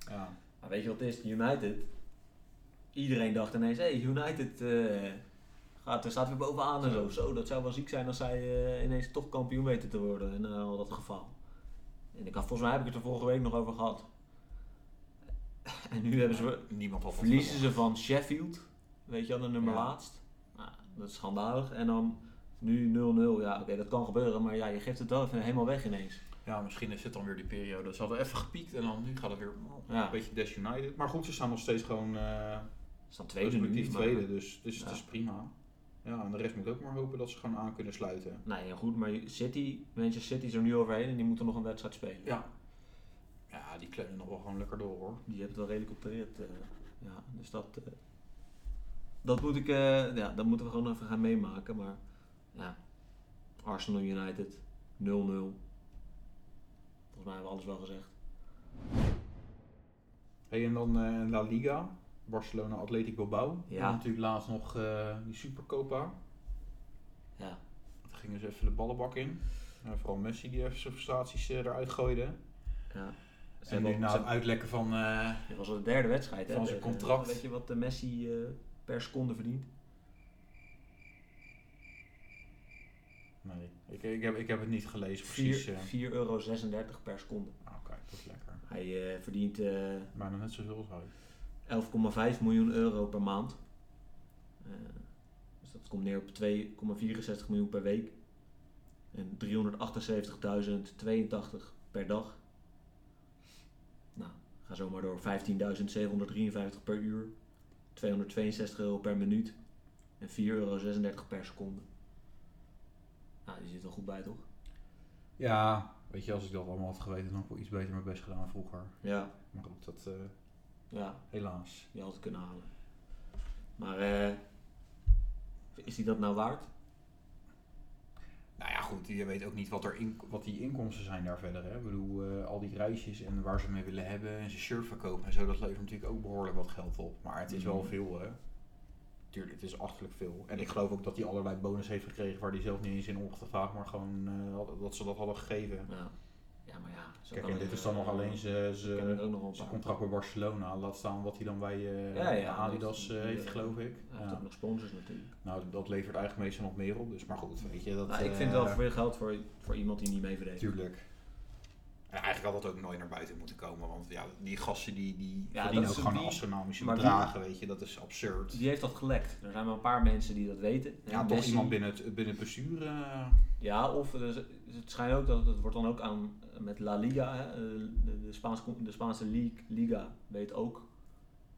Speaker 3: ja,
Speaker 4: Maar weet je wat het is? United. Iedereen dacht ineens, hey, United eh, gaat, staat weer bovenaan en zo. Zo, dat zou wel ziek zijn als zij eh, ineens toch kampioen weten te worden. En al dat geval. En ik had, volgens mij heb ik het er vorige week nog over gehad. En nu hebben ze,
Speaker 3: niemand had dat
Speaker 4: verliezen ze van Sheffield. Weet je wel, de nummer
Speaker 3: Ja.
Speaker 4: laatst. Nou, dat is schandalig. En dan nu 0-0. Ja, oké, dat kan gebeuren. Maar ja, je geeft het wel even helemaal weg ineens.
Speaker 3: Ja, misschien is het dan weer die periode. Ze hadden even gepiekt en dan nu gaat het weer oh,
Speaker 4: Ja.
Speaker 3: een beetje Dash United. Maar goed, ze staan nog steeds gewoon eh
Speaker 4: Ze staan tweede nu.
Speaker 3: respectief
Speaker 4: maar-
Speaker 3: tweede, dus, dus
Speaker 4: Ja.
Speaker 3: het is prima. Ja, en de rest moet ook maar hopen dat ze gewoon aan kunnen sluiten.
Speaker 4: Nee, ja, goed, maar City, Manchester City is er nu overheen en die moeten nog een wedstrijd spelen.
Speaker 3: Ja. Ja, die klemmen nog wel gewoon lekker door hoor.
Speaker 4: Die hebben het wel redelijk op de rit. eh, ja, dus dat, eh, dat, moet ik, eh, ja, dat moeten we gewoon even gaan meemaken. Maar ja, Arsenal United 0-0. Volgens mij hebben we alles wel gezegd.
Speaker 3: Hey, en dan eh, La Liga, Barcelona, Atletico Bilbao.
Speaker 4: Ja.
Speaker 3: Ja. natuurlijk laatst nog eh, die Supercopa.
Speaker 4: Ja,
Speaker 3: Daar gingen ze even de ballenbak in. En vooral Messi die even zijn frustraties eh, eruit gooide.
Speaker 4: ja. Ze
Speaker 3: en
Speaker 4: hebben
Speaker 3: nu na
Speaker 4: al- ze-
Speaker 3: het uitlekken van... eh,
Speaker 4: dit was al de derde wedstrijd. hè,
Speaker 3: Van zijn
Speaker 4: de-
Speaker 3: contract.
Speaker 4: Weet je wat de Messi eh, per seconde verdient?
Speaker 3: nee, ik, ik, heb, ik heb het niet gelezen precies. eh.
Speaker 4: 4,36 euro per seconde.
Speaker 3: Nou, kijk, dat is lekker.
Speaker 4: Hij eh, verdient... eh,
Speaker 3: Maar nog net zoveel als hij.
Speaker 4: 11,5 miljoen euro per maand. Eh, dus dat komt neer op 2,64 miljoen per week. En 378.082 per dag. Nou, ga zo maar door. 15.753 per uur. 262 euro per minuut. En 4,36 euro per seconde. Nou, die zit wel goed bij, toch?
Speaker 3: Ja, weet je, als ik dat allemaal had geweten, dan had ik wel iets beter mijn best gedaan vroeger.
Speaker 4: Ja.
Speaker 3: Maar goed, dat eh,
Speaker 4: Ja,
Speaker 3: helaas.
Speaker 4: die had het kunnen halen. Maar eh, is die dat nou waard?
Speaker 3: Nou ja, goed, je weet ook niet wat, er in, wat die inkomsten zijn daar verder. Hè? Ik bedoel, eh, al die reisjes en waar ze mee willen hebben en zijn shirt verkopen en zo, dat levert natuurlijk ook behoorlijk wat geld op. Maar het is wel
Speaker 4: Mhm.
Speaker 3: veel, hè. Tuurlijk, het is achterlijk veel. En ik geloof ook dat hij allerlei bonus heeft gekregen waar hij zelf niet eens in opgevraagd, maar gewoon eh, dat ze dat hadden gegeven.
Speaker 4: Ja, ja maar ja. zo
Speaker 3: Kijk,
Speaker 4: kan
Speaker 3: en
Speaker 4: het,
Speaker 3: dit is dan
Speaker 4: eh,
Speaker 3: nog alleen zijn-
Speaker 4: ik ken
Speaker 3: zijn eh,
Speaker 4: er ook nog wel een
Speaker 3: Zijn
Speaker 4: paar.
Speaker 3: contract bij Barcelona, laat staan wat hij dan bij eh,
Speaker 4: Ja, ja,
Speaker 3: Adidas
Speaker 4: dat-
Speaker 3: eh, heeft,
Speaker 4: ja.
Speaker 3: geloof ik.
Speaker 4: Hij heeft
Speaker 3: Ja.
Speaker 4: ook nog sponsors natuurlijk.
Speaker 3: Nou, dat levert eigenlijk meestal nog meer op, dus maar goed, weet je. Dat,
Speaker 4: Nou, ik
Speaker 3: eh,
Speaker 4: vind het wel veel geld voor, voor iemand die niet mee verdedigt.
Speaker 3: Tuurlijk. En eigenlijk had dat ook nooit naar buiten moeten komen, want ja, die gasten die, die
Speaker 4: Ja,
Speaker 3: verdienen
Speaker 4: dat
Speaker 3: ook
Speaker 4: is
Speaker 3: gewoon
Speaker 4: die-
Speaker 3: astronomische
Speaker 4: maar die-
Speaker 3: bedragen, weet je. Dat is absurd.
Speaker 4: Die heeft dat gelekt. Er zijn maar een paar mensen die dat weten. En
Speaker 3: ja, toch
Speaker 4: Messi-
Speaker 3: iemand binnen het, binnen het bestuur. eh,
Speaker 4: Ja, of er is- het schijnt ook dat het wordt dan ook aan met La Liga, hè, eh, de, de, Spaanse, con- de Spaanse league, Liga weet ook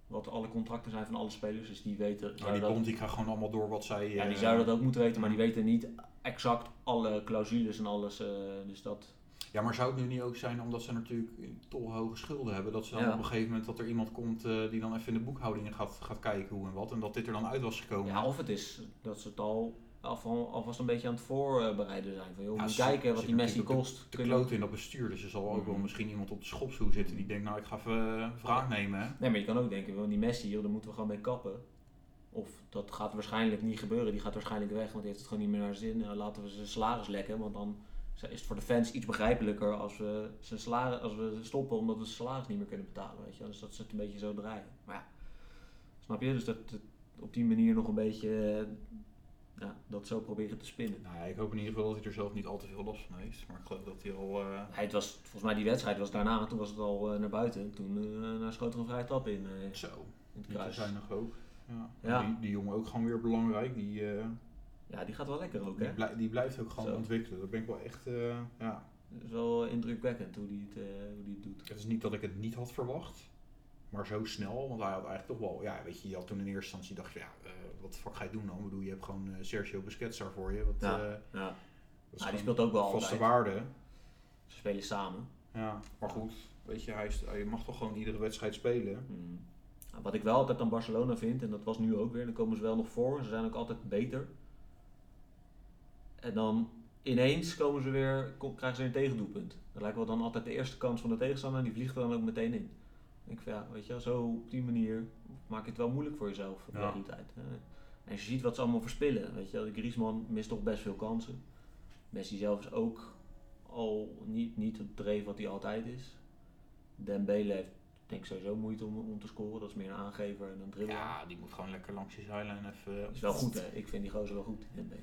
Speaker 4: wat alle contracten zijn van alle spelers. Dus die weten.
Speaker 3: maar nou, die
Speaker 4: dat-
Speaker 3: bond die gaat gewoon allemaal door wat zij...
Speaker 4: Ja, die
Speaker 3: eh,
Speaker 4: zouden dat ook moeten weten, maar die weten niet exact alle clausules en alles. eh, dus dat.
Speaker 3: Ja, maar zou het nu niet ook zijn, omdat ze natuurlijk tolhoge schulden hebben, dat ze dan
Speaker 4: Ja.
Speaker 3: op een gegeven moment dat er iemand komt eh, die dan even in de boekhouding gaat, gaat kijken hoe en wat, en dat dit er dan uit was gekomen?
Speaker 4: Ja, of het is dat ze het al al- alvast een beetje aan het voorbereiden zijn. Van,
Speaker 3: Ja,
Speaker 4: joh, we moeten
Speaker 3: ze-
Speaker 4: kijken wat
Speaker 3: ze
Speaker 4: die Messi
Speaker 3: zitten natuurlijk
Speaker 4: kost.
Speaker 3: Te
Speaker 4: Kunnen-
Speaker 3: kloten in dat bestuur, dus er zal ook wel
Speaker 4: Mhm.
Speaker 3: misschien iemand op de schopstoel zitten die denkt, nou ik ga even eh, wraak nemen. hè.
Speaker 4: Nee, maar je kan ook denken, joh, die Messi, joh, daar moeten we gewoon mee kappen. Of dat gaat waarschijnlijk niet gebeuren. Die gaat waarschijnlijk weg, want die heeft het gewoon niet meer naar zijn zin. Nou, laten we zijn salaris lekken, want dan is het voor de fans iets begrijpelijker als we, zijn salaris, als we stoppen omdat we zijn salaris niet meer kunnen betalen. Weet je? wel. Dus dat is het een beetje zo draaien. Maar ja, snap je? Dus dat, dat op die manier nog een beetje eh, ja, dat zo proberen te spinnen.
Speaker 3: Nou, ja, ik hoop in ieder geval dat hij er zelf niet al te veel last van heeft, maar ik geloof dat hij al... eh,
Speaker 4: Ja, het was, volgens mij die wedstrijd was daarna, en toen was het al eh, naar buiten. Toen eh nou schoot er een vrije trap in, eh, in
Speaker 3: Zo,
Speaker 4: het
Speaker 3: niet te
Speaker 4: kruis.
Speaker 3: zijn nog ook. Ja.
Speaker 4: Ja.
Speaker 3: Die, die jongen ook gewoon weer belangrijk, die, eh,
Speaker 4: Ja, die gaat wel lekker ook, hè?
Speaker 3: die, blij- die blijft ook gewoon
Speaker 4: Zo.
Speaker 3: ontwikkelen. Dat ben ik wel echt... eh, ja.
Speaker 4: Het is wel eh, indrukwekkend hoe die het, eh, hoe die het doet.
Speaker 3: Het is niet dat ik het niet had verwacht, maar zo snel. Want hij had eigenlijk toch wel, ja, weet je, je had toen in eerste instantie dacht, je, ja, eh, wat de fuck ga je doen dan? Ik bedoel, je hebt gewoon eh, Sergio Busquets daar voor je. Wat,
Speaker 4: Ja,
Speaker 3: eh,
Speaker 4: Ja.
Speaker 3: dat is
Speaker 4: Ah, die
Speaker 3: gewoon
Speaker 4: speelt ook wel
Speaker 3: vaste
Speaker 4: altijd.
Speaker 3: waarde.
Speaker 4: Ze spelen samen.
Speaker 3: Ja, maar goed, weet je, hij, is- hij mag toch gewoon iedere wedstrijd spelen.
Speaker 4: Mm. Nou, Wat ik wel altijd aan Barcelona vind, en dat was nu ook weer, dan komen ze wel nog voor. Ze zijn ook altijd beter. En dan ineens komen ze weer, kom- krijgen ze weer een tegendoelpunt. Dat lijkt wel dan altijd de eerste kans van de tegenstander en die vliegt er dan ook meteen in. Ik denk van ja, weet je, wel, zo op die manier maak je het wel moeilijk voor jezelf op de
Speaker 3: Ja.
Speaker 4: hele tijd. hè. En als je ziet wat ze allemaal verspillen, weet je wel, die Griezmann mist toch best veel kansen. Messi zelf is ook al niet, niet het dreef wat hij altijd is. Dembele heeft denk ik sowieso moeite om, om te scoren, dat is meer een aangever en een dribbler.
Speaker 3: Ja, die moet gewoon lekker langs je zijlijn even...
Speaker 4: Dat is wel goed hè, ik vind die gozer wel goed, Dembele.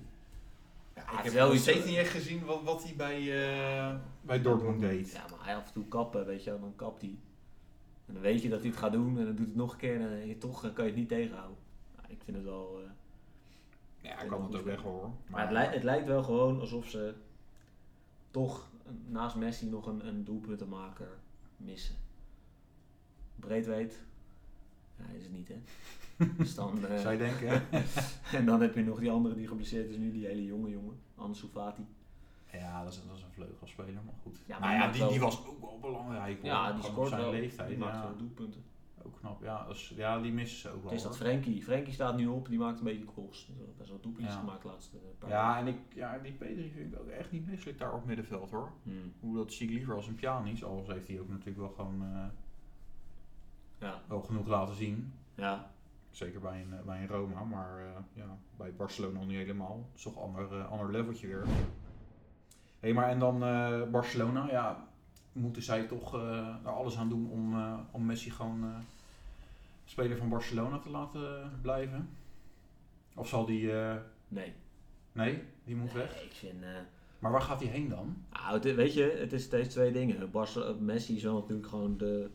Speaker 3: Ja,
Speaker 4: Hij
Speaker 3: ik heb
Speaker 4: heeft wel
Speaker 3: nog
Speaker 4: iets-
Speaker 3: steeds niet echt gezien wat, wat hij bij, eh, bij Dortmund deed.
Speaker 4: Ja, maar hij af en toe kappen, weet je, wel, dan kapt hij. En dan weet je dat hij het gaat doen en dan doet het nog een keer en dan- toch eh, kan je het niet tegenhouden. Nou, ik vind het wel... eh,
Speaker 3: Ja, ik kan het ook weg hoor.
Speaker 4: Maar het, lijkt, het lijkt wel gewoon alsof ze toch een- naast Messi nog een, een doelpuntenmaker missen. Breedweed. Ja, hij is het niet, hè? Dus dan, eh,
Speaker 3: Zou je denken, hè?
Speaker 4: en dan heb je nog die andere die geblesseerd is nu, die hele jonge jongen, Ansu Fati.
Speaker 3: Ja, dat is, dat is een vleugelspeler, maar goed.
Speaker 4: Ja, maar
Speaker 3: maar Nou
Speaker 4: die
Speaker 3: ja,
Speaker 4: maakt
Speaker 3: die,
Speaker 4: wel-
Speaker 3: die was ook wel belangrijk. hoor.
Speaker 4: Ja, die
Speaker 3: Gewoon op
Speaker 4: scoort
Speaker 3: zijn
Speaker 4: wel.
Speaker 3: leeftijd.
Speaker 4: die maakt
Speaker 3: ja,
Speaker 4: wel doelpunten.
Speaker 3: ook knap. Ja, als- ja, die missen ze ook wel.
Speaker 4: Het is dat
Speaker 3: hoor.
Speaker 4: Frenkie. Frenkie staat nu op, die maakt een beetje goals. Dus best wel doelpuntjes
Speaker 3: Ja.
Speaker 4: gemaakt de laatste paar
Speaker 3: Ja, en ik, ja, die Pedri vind ik ook echt niet misselijk daar op middenveld hoor.
Speaker 4: Hmm.
Speaker 3: Hoe dat zie ik liever als een pianisch. Alles heeft hij ook natuurlijk wel gewoon eh,
Speaker 4: Ja.
Speaker 3: wel genoeg laten zien.
Speaker 4: ja.
Speaker 3: Zeker bij een, eh, bij een Roma, maar eh, ja, bij Barcelona nog niet helemaal. Het is toch een ander, eh, ander leveltje weer. hey, maar en dan eh, Barcelona, ja, moeten zij toch eh er alles aan doen om, eh, om Messi gewoon eh, speler van Barcelona te laten blijven? Of zal die, eh,
Speaker 4: Nee.
Speaker 3: nee, die moet weg.
Speaker 4: Nee, Ik vind... eh,
Speaker 3: Maar waar gaat hij heen dan?
Speaker 4: Nou, het- weet je, het is steeds twee dingen. Barce- Messi is wel natuurlijk gewoon de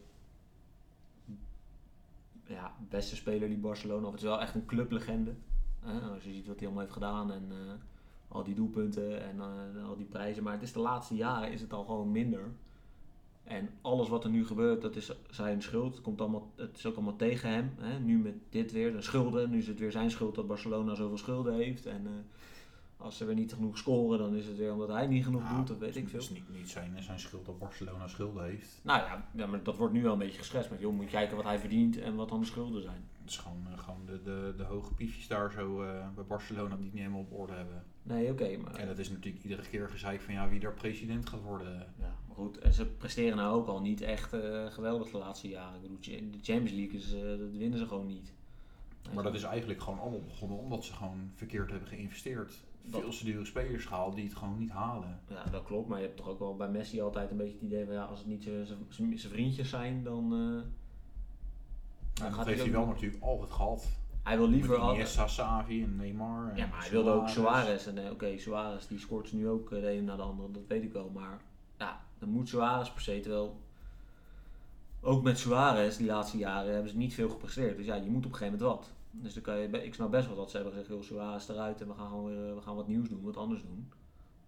Speaker 4: ja, beste speler die Barcelona... Of het is wel echt een clublegende. hè, als je ziet wat hij allemaal heeft gedaan en eh, al die doelpunten en eh, al die prijzen. Maar het is de laatste jaren is het al gewoon minder. En alles wat er nu gebeurt, dat is zijn schuld. Het, komt allemaal, het is ook allemaal tegen hem. Hè? Nu met dit weer, de schulden. Nu is het weer zijn schuld dat Barcelona zoveel schulden heeft. En eh, als ze weer niet genoeg scoren, dan is het weer omdat hij niet genoeg
Speaker 3: Ja,
Speaker 4: doet. Dat weet ik
Speaker 3: Nou, Het
Speaker 4: veel.
Speaker 3: is niet, niet zijn, eh, zijn schuld dat Barcelona schulden heeft.
Speaker 4: Nou ja, ja, maar dat wordt nu wel een beetje geschetst. Maar joh, moet je kijken wat hij verdient en wat dan de schulden zijn.
Speaker 3: Het is gewoon, eh, gewoon de, de, de hoge piefjes daar zo eh, bij Barcelona die het niet helemaal op orde hebben.
Speaker 4: Nee, oké, maar...
Speaker 3: En dat is natuurlijk iedere keer gezeik van ja, wie daar president gaat worden.
Speaker 4: Ja, maar goed, en ze presteren nou ook al niet echt eh, geweldig de laatste jaren. Ik bedoel, de Champions League, is, eh, dat winnen ze gewoon niet.
Speaker 3: Maar dat is eigenlijk gewoon allemaal begonnen omdat ze gewoon verkeerd hebben geïnvesteerd.
Speaker 4: Dat-
Speaker 3: Veel te dure spelers gehaald die het gewoon niet halen.
Speaker 4: Ja, dat klopt, maar je hebt toch ook wel bij Messi altijd een beetje het idee van... Ja, als het niet zijn vriendjes zijn, dan... eh,
Speaker 3: En dat
Speaker 4: gaat hij
Speaker 3: heeft hij
Speaker 4: ook
Speaker 3: wel
Speaker 4: doen.
Speaker 3: natuurlijk altijd gehad.
Speaker 4: hij wil
Speaker 3: Met
Speaker 4: liever... al-
Speaker 3: Iniesta, Savi en Neymar. en
Speaker 4: Ja, maar hij wilde ook
Speaker 3: Suarez.
Speaker 4: Suarez. En eh, oké, Suarez die scoort nu ook eh, de ene na de andere, dat weet ik wel. Maar ja, dan moet Suarez per se, terwijl ook met Suarez die laatste jaren hebben ze niet veel gepresteerd. Dus ja, je moet op een gegeven moment wat. Dus dan kan je, be- ik snap best wel dat ze hebben gezegd, joh, Suarez eruit en we gaan, gewoon weer, eh, we gaan wat nieuws doen, wat anders doen.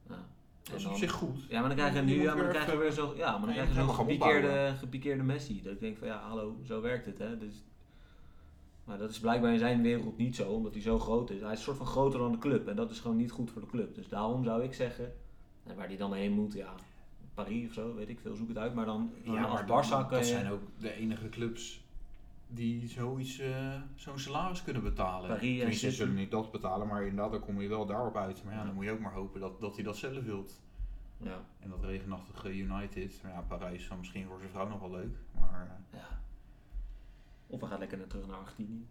Speaker 4: Ja,
Speaker 3: Dat
Speaker 4: en
Speaker 3: is
Speaker 4: dan-
Speaker 3: op zich goed.
Speaker 4: ja, maar dan krijg je
Speaker 3: Je
Speaker 4: nu
Speaker 3: moet
Speaker 4: ja, maar dan
Speaker 3: weer
Speaker 4: krijg je
Speaker 3: even-
Speaker 4: weer zo, ja, maar dan
Speaker 3: Nee,
Speaker 4: krijg je
Speaker 3: je
Speaker 4: zo'n
Speaker 3: moet gaan
Speaker 4: gepikeerde,
Speaker 3: opbouwen.
Speaker 4: gepikeerde Messi. Dat ik denk van ja, hallo, zo werkt het hè. Dus, maar dat is blijkbaar in zijn wereld niet zo, omdat hij zo groot is. Hij is een soort van groter dan de club en dat is gewoon niet goed voor de club. Dus daarom zou ik zeggen, en waar hij dan heen moet, ja, Parijs of zo, weet ik veel, zoek het uit. Maar dan, dan
Speaker 3: Ja,
Speaker 4: als
Speaker 3: maar
Speaker 4: Barça
Speaker 3: dat,
Speaker 4: kan
Speaker 3: dat
Speaker 4: je...
Speaker 3: zijn ook de enige clubs die zoiets, eh, zo'n salaris kunnen betalen.
Speaker 4: Paris en
Speaker 3: Tenminste, ze
Speaker 4: City.
Speaker 3: zullen niet dat betalen, maar inderdaad, dan kom je wel daarop uit. Maar ja,
Speaker 4: Ja.
Speaker 3: dan moet je ook maar hopen dat, dat hij dat zelf wilt.
Speaker 4: Ja,
Speaker 3: En dat regenachtige United, maar ja, Parijs zou misschien voor zijn vrouw nog wel leuk. Maar
Speaker 4: ja. Of we gaan lekker naar terug naar Argentinië.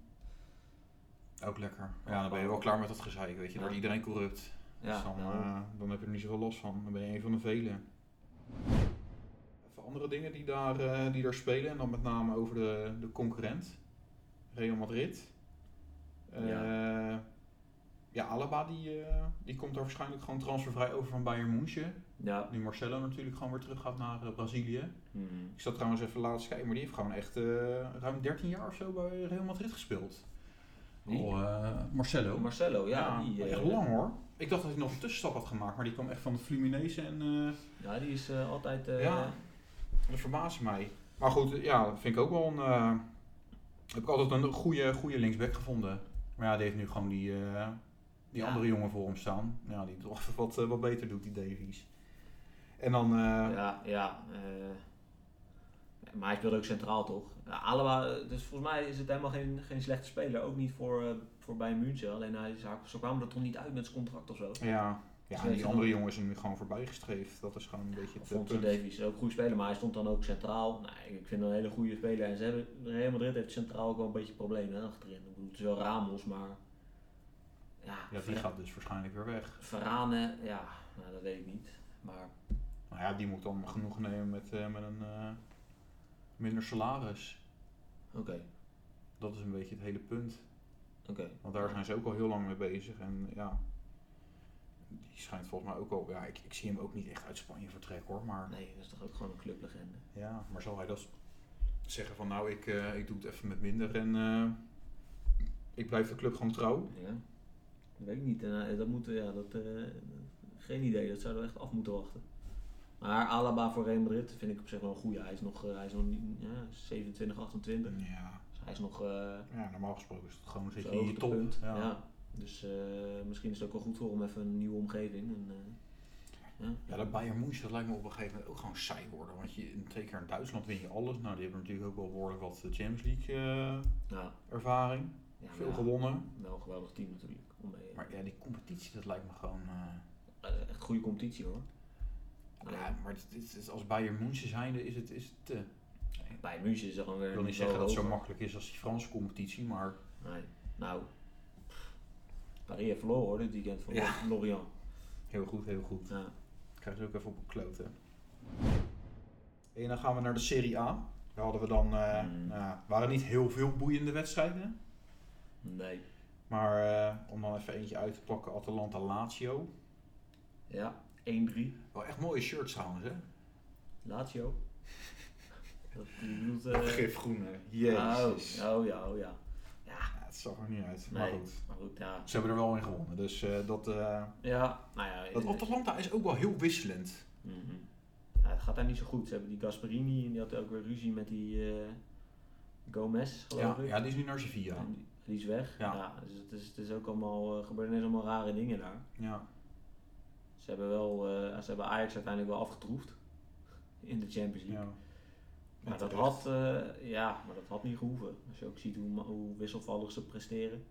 Speaker 3: eh, ook lekker. Ja, dan ben je wel klaar met dat gezeik, weet je. Daar
Speaker 4: Ja.
Speaker 3: is iedereen corrupt.
Speaker 4: Ja,
Speaker 3: dus dan,
Speaker 4: daarom.
Speaker 3: eh, dan heb je er niet zoveel los van. Dan ben je een van de velen. Even andere dingen die daar, eh, die daar spelen. En dan met name over de, de concurrent. Real Madrid. Eh, ja. Alaba die, eh, die komt daar waarschijnlijk gewoon transfervrij over van Bayern München.
Speaker 4: ja.
Speaker 3: Nu Marcelo natuurlijk gewoon weer terug gaat naar eh, Brazilië.
Speaker 4: Hmm.
Speaker 3: Ik zat trouwens even laatst kijken, maar die heeft gewoon echt eh, ruim 13 jaar of zo bij Real Madrid gespeeld.
Speaker 4: Wie?
Speaker 3: Oh, eh, Marcelo.
Speaker 4: Marcelo, ja,
Speaker 3: Ja,
Speaker 4: die, eh,
Speaker 3: echt lang hoor. Ik dacht dat hij nog een tussenstap had gemaakt, maar die kwam echt van de Fluminense en eh,
Speaker 4: Ja, die is eh, altijd... eh,
Speaker 3: Ja. dat verbaasde mij. Maar goed, ja, dat vind ik ook wel een... eh, heb ik altijd een goede, goede linksback gevonden. Maar ja, die heeft nu gewoon die, eh, die
Speaker 4: Ja.
Speaker 3: andere jongen voor hem staan. Ja, die toch even wat, eh, wat beter doet, die Davies. En dan... eh,
Speaker 4: Ja, ja. eh, maar hij speelt ook centraal toch? Ja, Alaba, eh, dus volgens mij is het helemaal geen, geen slechte speler. Ook niet voor, eh voor Bayern München. Alleen hij, ze, ze kwamen er toch niet uit met zijn contract of zo.
Speaker 3: ja,
Speaker 4: Dus
Speaker 3: ja
Speaker 4: weet
Speaker 3: en
Speaker 4: je
Speaker 3: die
Speaker 4: dan-
Speaker 3: andere jongen is er nu gewoon voorbij gestreefd. Dat is gewoon een beetje het eh,
Speaker 4: Alfonso
Speaker 3: punt.
Speaker 4: Davies, ook een goede speler, maar hij stond dan ook centraal. Nee, ik vind hem een hele goede speler. En ze hebben, Real Madrid heeft centraal ook wel een beetje problemen hè, achterin. Ik bedoel, het is wel Ramos, maar Ja,
Speaker 3: Ja, die gaat dus waarschijnlijk weer weg.
Speaker 4: Verane, ja, nou, dat weet ik niet. Maar
Speaker 3: Maar Nou ja, die moet dan genoeg nemen met, eh, met een eh, minder salaris.
Speaker 4: oké,
Speaker 3: Dat is een beetje het hele punt.
Speaker 4: oké.
Speaker 3: Want daar zijn ze ook al heel lang mee bezig. En ja, die schijnt volgens mij ook al... Ja, ik, ik zie hem ook niet echt uit Spanje vertrekken hoor. Maar
Speaker 4: Nee, dat is toch ook gewoon een clublegende.
Speaker 3: ja, maar zal hij dat zeggen van nou, ik, eh, ik doe het even met minder en eh, ik blijf de club gewoon trouw?
Speaker 4: Ja, dat weet ik niet. En, eh, dat moeten, ja, dat, eh, geen idee, dat zouden we echt af moeten wachten. Maar Alaba voor Real Madrid vind ik op zich wel een goede. Hij is nog, eh, hij is nog niet, ja, 27, 28.
Speaker 3: Ja,
Speaker 4: Dus hij is nog eh,
Speaker 3: ja normaal gesproken is het gewoon zit
Speaker 4: Zo
Speaker 3: je in je top.
Speaker 4: hoogtepunt,
Speaker 3: Ja.
Speaker 4: Ja. Dus eh, misschien is het ook wel goed voor hem even een nieuwe omgeving. En, eh, ja.
Speaker 3: Ja, dat Bayern München dat lijkt me op een gegeven moment ook gewoon saai worden. Want je, in- twee keer in Duitsland win je alles. Nou, die hebben natuurlijk ook wel behoorlijk wat eh, Champions League eh,
Speaker 4: Ja,
Speaker 3: ervaring.
Speaker 4: Nou, ja,
Speaker 3: Veel
Speaker 4: maar ja,
Speaker 3: gewonnen.
Speaker 4: wel een geweldig team natuurlijk. Om mee,
Speaker 3: Maar ja, die competitie, dat lijkt me gewoon... eh,
Speaker 4: eh, echt goede competitie hoor.
Speaker 3: ja, maar het, het- het- als Bayern München zijnde is het... Is het te.
Speaker 4: Bij München is er gewoon weer.
Speaker 3: ik wil
Speaker 4: een
Speaker 3: niet zeggen dat het zo
Speaker 4: niveau
Speaker 3: makkelijk is als die Franse competitie, maar...
Speaker 4: hoger. Nee. Nou, Paris heeft verloren hoor dit weekend van
Speaker 3: Ja.
Speaker 4: Lorient.
Speaker 3: Heel goed, heel goed.
Speaker 4: Ja.
Speaker 3: Ik krijg ze ook even op een klote. En dan gaan we naar de Serie A. Daar hadden we dan... eh
Speaker 4: Mm.
Speaker 3: nou ja, waren niet heel veel boeiende wedstrijden.
Speaker 4: Nee.
Speaker 3: Maar eh, om dan even eentje uit te pakken, Atalanta Lazio.
Speaker 4: Ja, 1-3.
Speaker 3: Wel echt mooie shirts trouwens, hè?
Speaker 4: Lazio. dat je bedoelt. eh,
Speaker 3: Gifgroen, hè? Jezus.
Speaker 4: oh, oh ja, oh ja. Ja,
Speaker 3: Ja, het zag er niet uit, maar
Speaker 4: nee.
Speaker 3: goed.
Speaker 4: Maar goed, ja.
Speaker 3: Ze hebben er wel in gewonnen, dus eh, dat... eh
Speaker 4: Ja, nou ja.
Speaker 3: dat
Speaker 4: eh,
Speaker 3: Atalanta is ook wel heel wisselend.
Speaker 4: Mhm. Ja, het gaat daar niet zo goed. Ze hebben die Gasperini en die had ook weer ruzie met die eh, Gomez, geloof
Speaker 3: Ja,
Speaker 4: ik.
Speaker 3: ja, die is nu naar Sevilla.
Speaker 4: En die, die is weg.
Speaker 3: Ja.
Speaker 4: Ja. dus het is, het is ook allemaal, eh, gebeuren ineens allemaal rare dingen daar.
Speaker 3: Ja.
Speaker 4: Ze hebben wel, eh, ze hebben Ajax uiteindelijk wel afgetroefd in de Champions League.
Speaker 3: ja.
Speaker 4: maar, dat
Speaker 3: terecht.
Speaker 4: had, eh, ja, maar dat had niet gehoeven. Als je ook ziet hoe, ma- hoe wisselvallig ze presteren.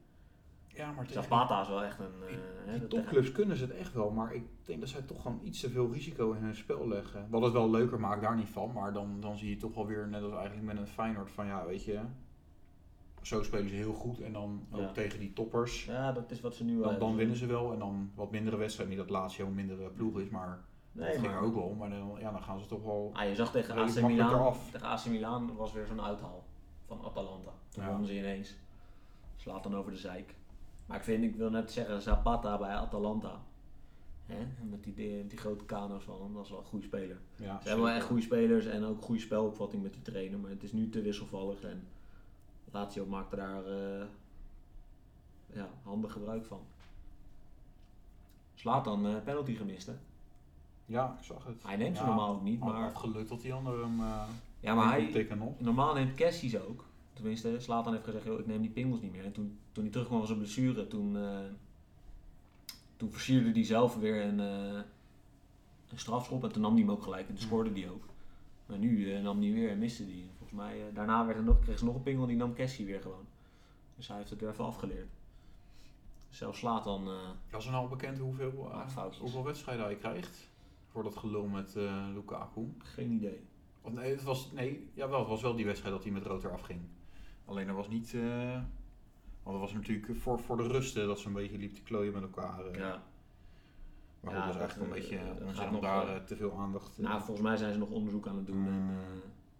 Speaker 3: Ja, maar tegen
Speaker 4: Zapata is wel echt een... eh,
Speaker 3: Die-
Speaker 4: hè,
Speaker 3: die
Speaker 4: dat-
Speaker 3: topclubs kunnen ze het echt wel, maar ik denk dat zij toch gewoon iets te veel risico in hun spel leggen. Wat het wel leuker maakt, daar niet van. Maar dan, dan zie je toch wel weer, net als eigenlijk met een Feyenoord, van ja, weet je... Zo spelen ze heel goed en dan ook
Speaker 4: Ja.
Speaker 3: tegen die toppers.
Speaker 4: Ja, dat is wat ze nu eh,
Speaker 3: Dan,
Speaker 4: hebben.
Speaker 3: dan winnen ze wel en dan wat mindere wedstrijden. Niet dat laatste heel mindere ploeg is, maar dat
Speaker 4: Nee,
Speaker 3: ging er
Speaker 4: maar
Speaker 3: ook wel om. Maar dan, ja, dan gaan ze toch wel...
Speaker 4: Ah, je zag tegen
Speaker 3: Redelijk
Speaker 4: AC
Speaker 3: makkelijk
Speaker 4: Milan,
Speaker 3: eraf.
Speaker 4: tegen AC Milan was weer zo'n uithaal van Atalanta. Toen
Speaker 3: Ja.
Speaker 4: wonnen ze ineens. Slaat dan over de zeik. Maar ik vind, ik wil net zeggen, Zapata bij Atalanta. Hè? Met, die, met die grote kano's van hem, dat is wel een goede speler.
Speaker 3: Ja,
Speaker 4: Ze hebben wel
Speaker 3: zeker.
Speaker 4: echt goede spelers en ook goede spelopvatting met die trainer. Maar het is nu te wisselvallig en Lazio maakte daar eh, ja, handig gebruik van. Slaat dan penalty gemist hè?
Speaker 3: Ja, ik zag het.
Speaker 4: Hij neemt ze
Speaker 3: Ja,
Speaker 4: normaal ook niet,
Speaker 3: Maar
Speaker 4: maar...
Speaker 3: het gelukt dat die andere hem eh
Speaker 4: Ja, maar
Speaker 3: niet
Speaker 4: hij,
Speaker 3: tikken nog.
Speaker 4: Normaal neemt Cassis ook. Tenminste, Slatan heeft gezegd, "Yo, ik neem die pingels niet meer. En toen, toen hij terugkwam van zijn blessure, toen, eh, toen versierde hij zelf weer een, eh, een strafschop. En toen nam hij hem ook gelijk en toen scoorde hij ook. Maar nu eh, nam hij weer en miste die. Volgens mij, eh, daarna werd er nog, kreeg ze nog een pingel en die nam Cassie weer gewoon. Dus hij heeft het weer even afgeleerd. Zelfs eh, Slatan,
Speaker 3: Ja, is er nou bekend hoeveel, eh,
Speaker 4: Maakt foutjes.
Speaker 3: hoeveel wedstrijden hij krijgt? Voor dat gelul met eh, Lukaku.
Speaker 4: geen idee.
Speaker 3: Of nee, het was, nee jawel, het was wel die wedstrijd dat hij met rood eraf ging. Alleen er was niet... eh, want dat was natuurlijk voor, voor de rusten dat ze een beetje liep te klooien met elkaar. eh.
Speaker 4: Ja.
Speaker 3: Maar
Speaker 4: Ja,
Speaker 3: goed, dat is
Speaker 4: dat,
Speaker 3: echt een
Speaker 4: eh,
Speaker 3: beetje
Speaker 4: dat
Speaker 3: onzin
Speaker 4: gaat
Speaker 3: om
Speaker 4: nog,
Speaker 3: daar
Speaker 4: eh,
Speaker 3: eh, te veel aandacht... eh,
Speaker 4: Nou, volgens mij zijn ze nog onderzoek aan het doen. eh. En,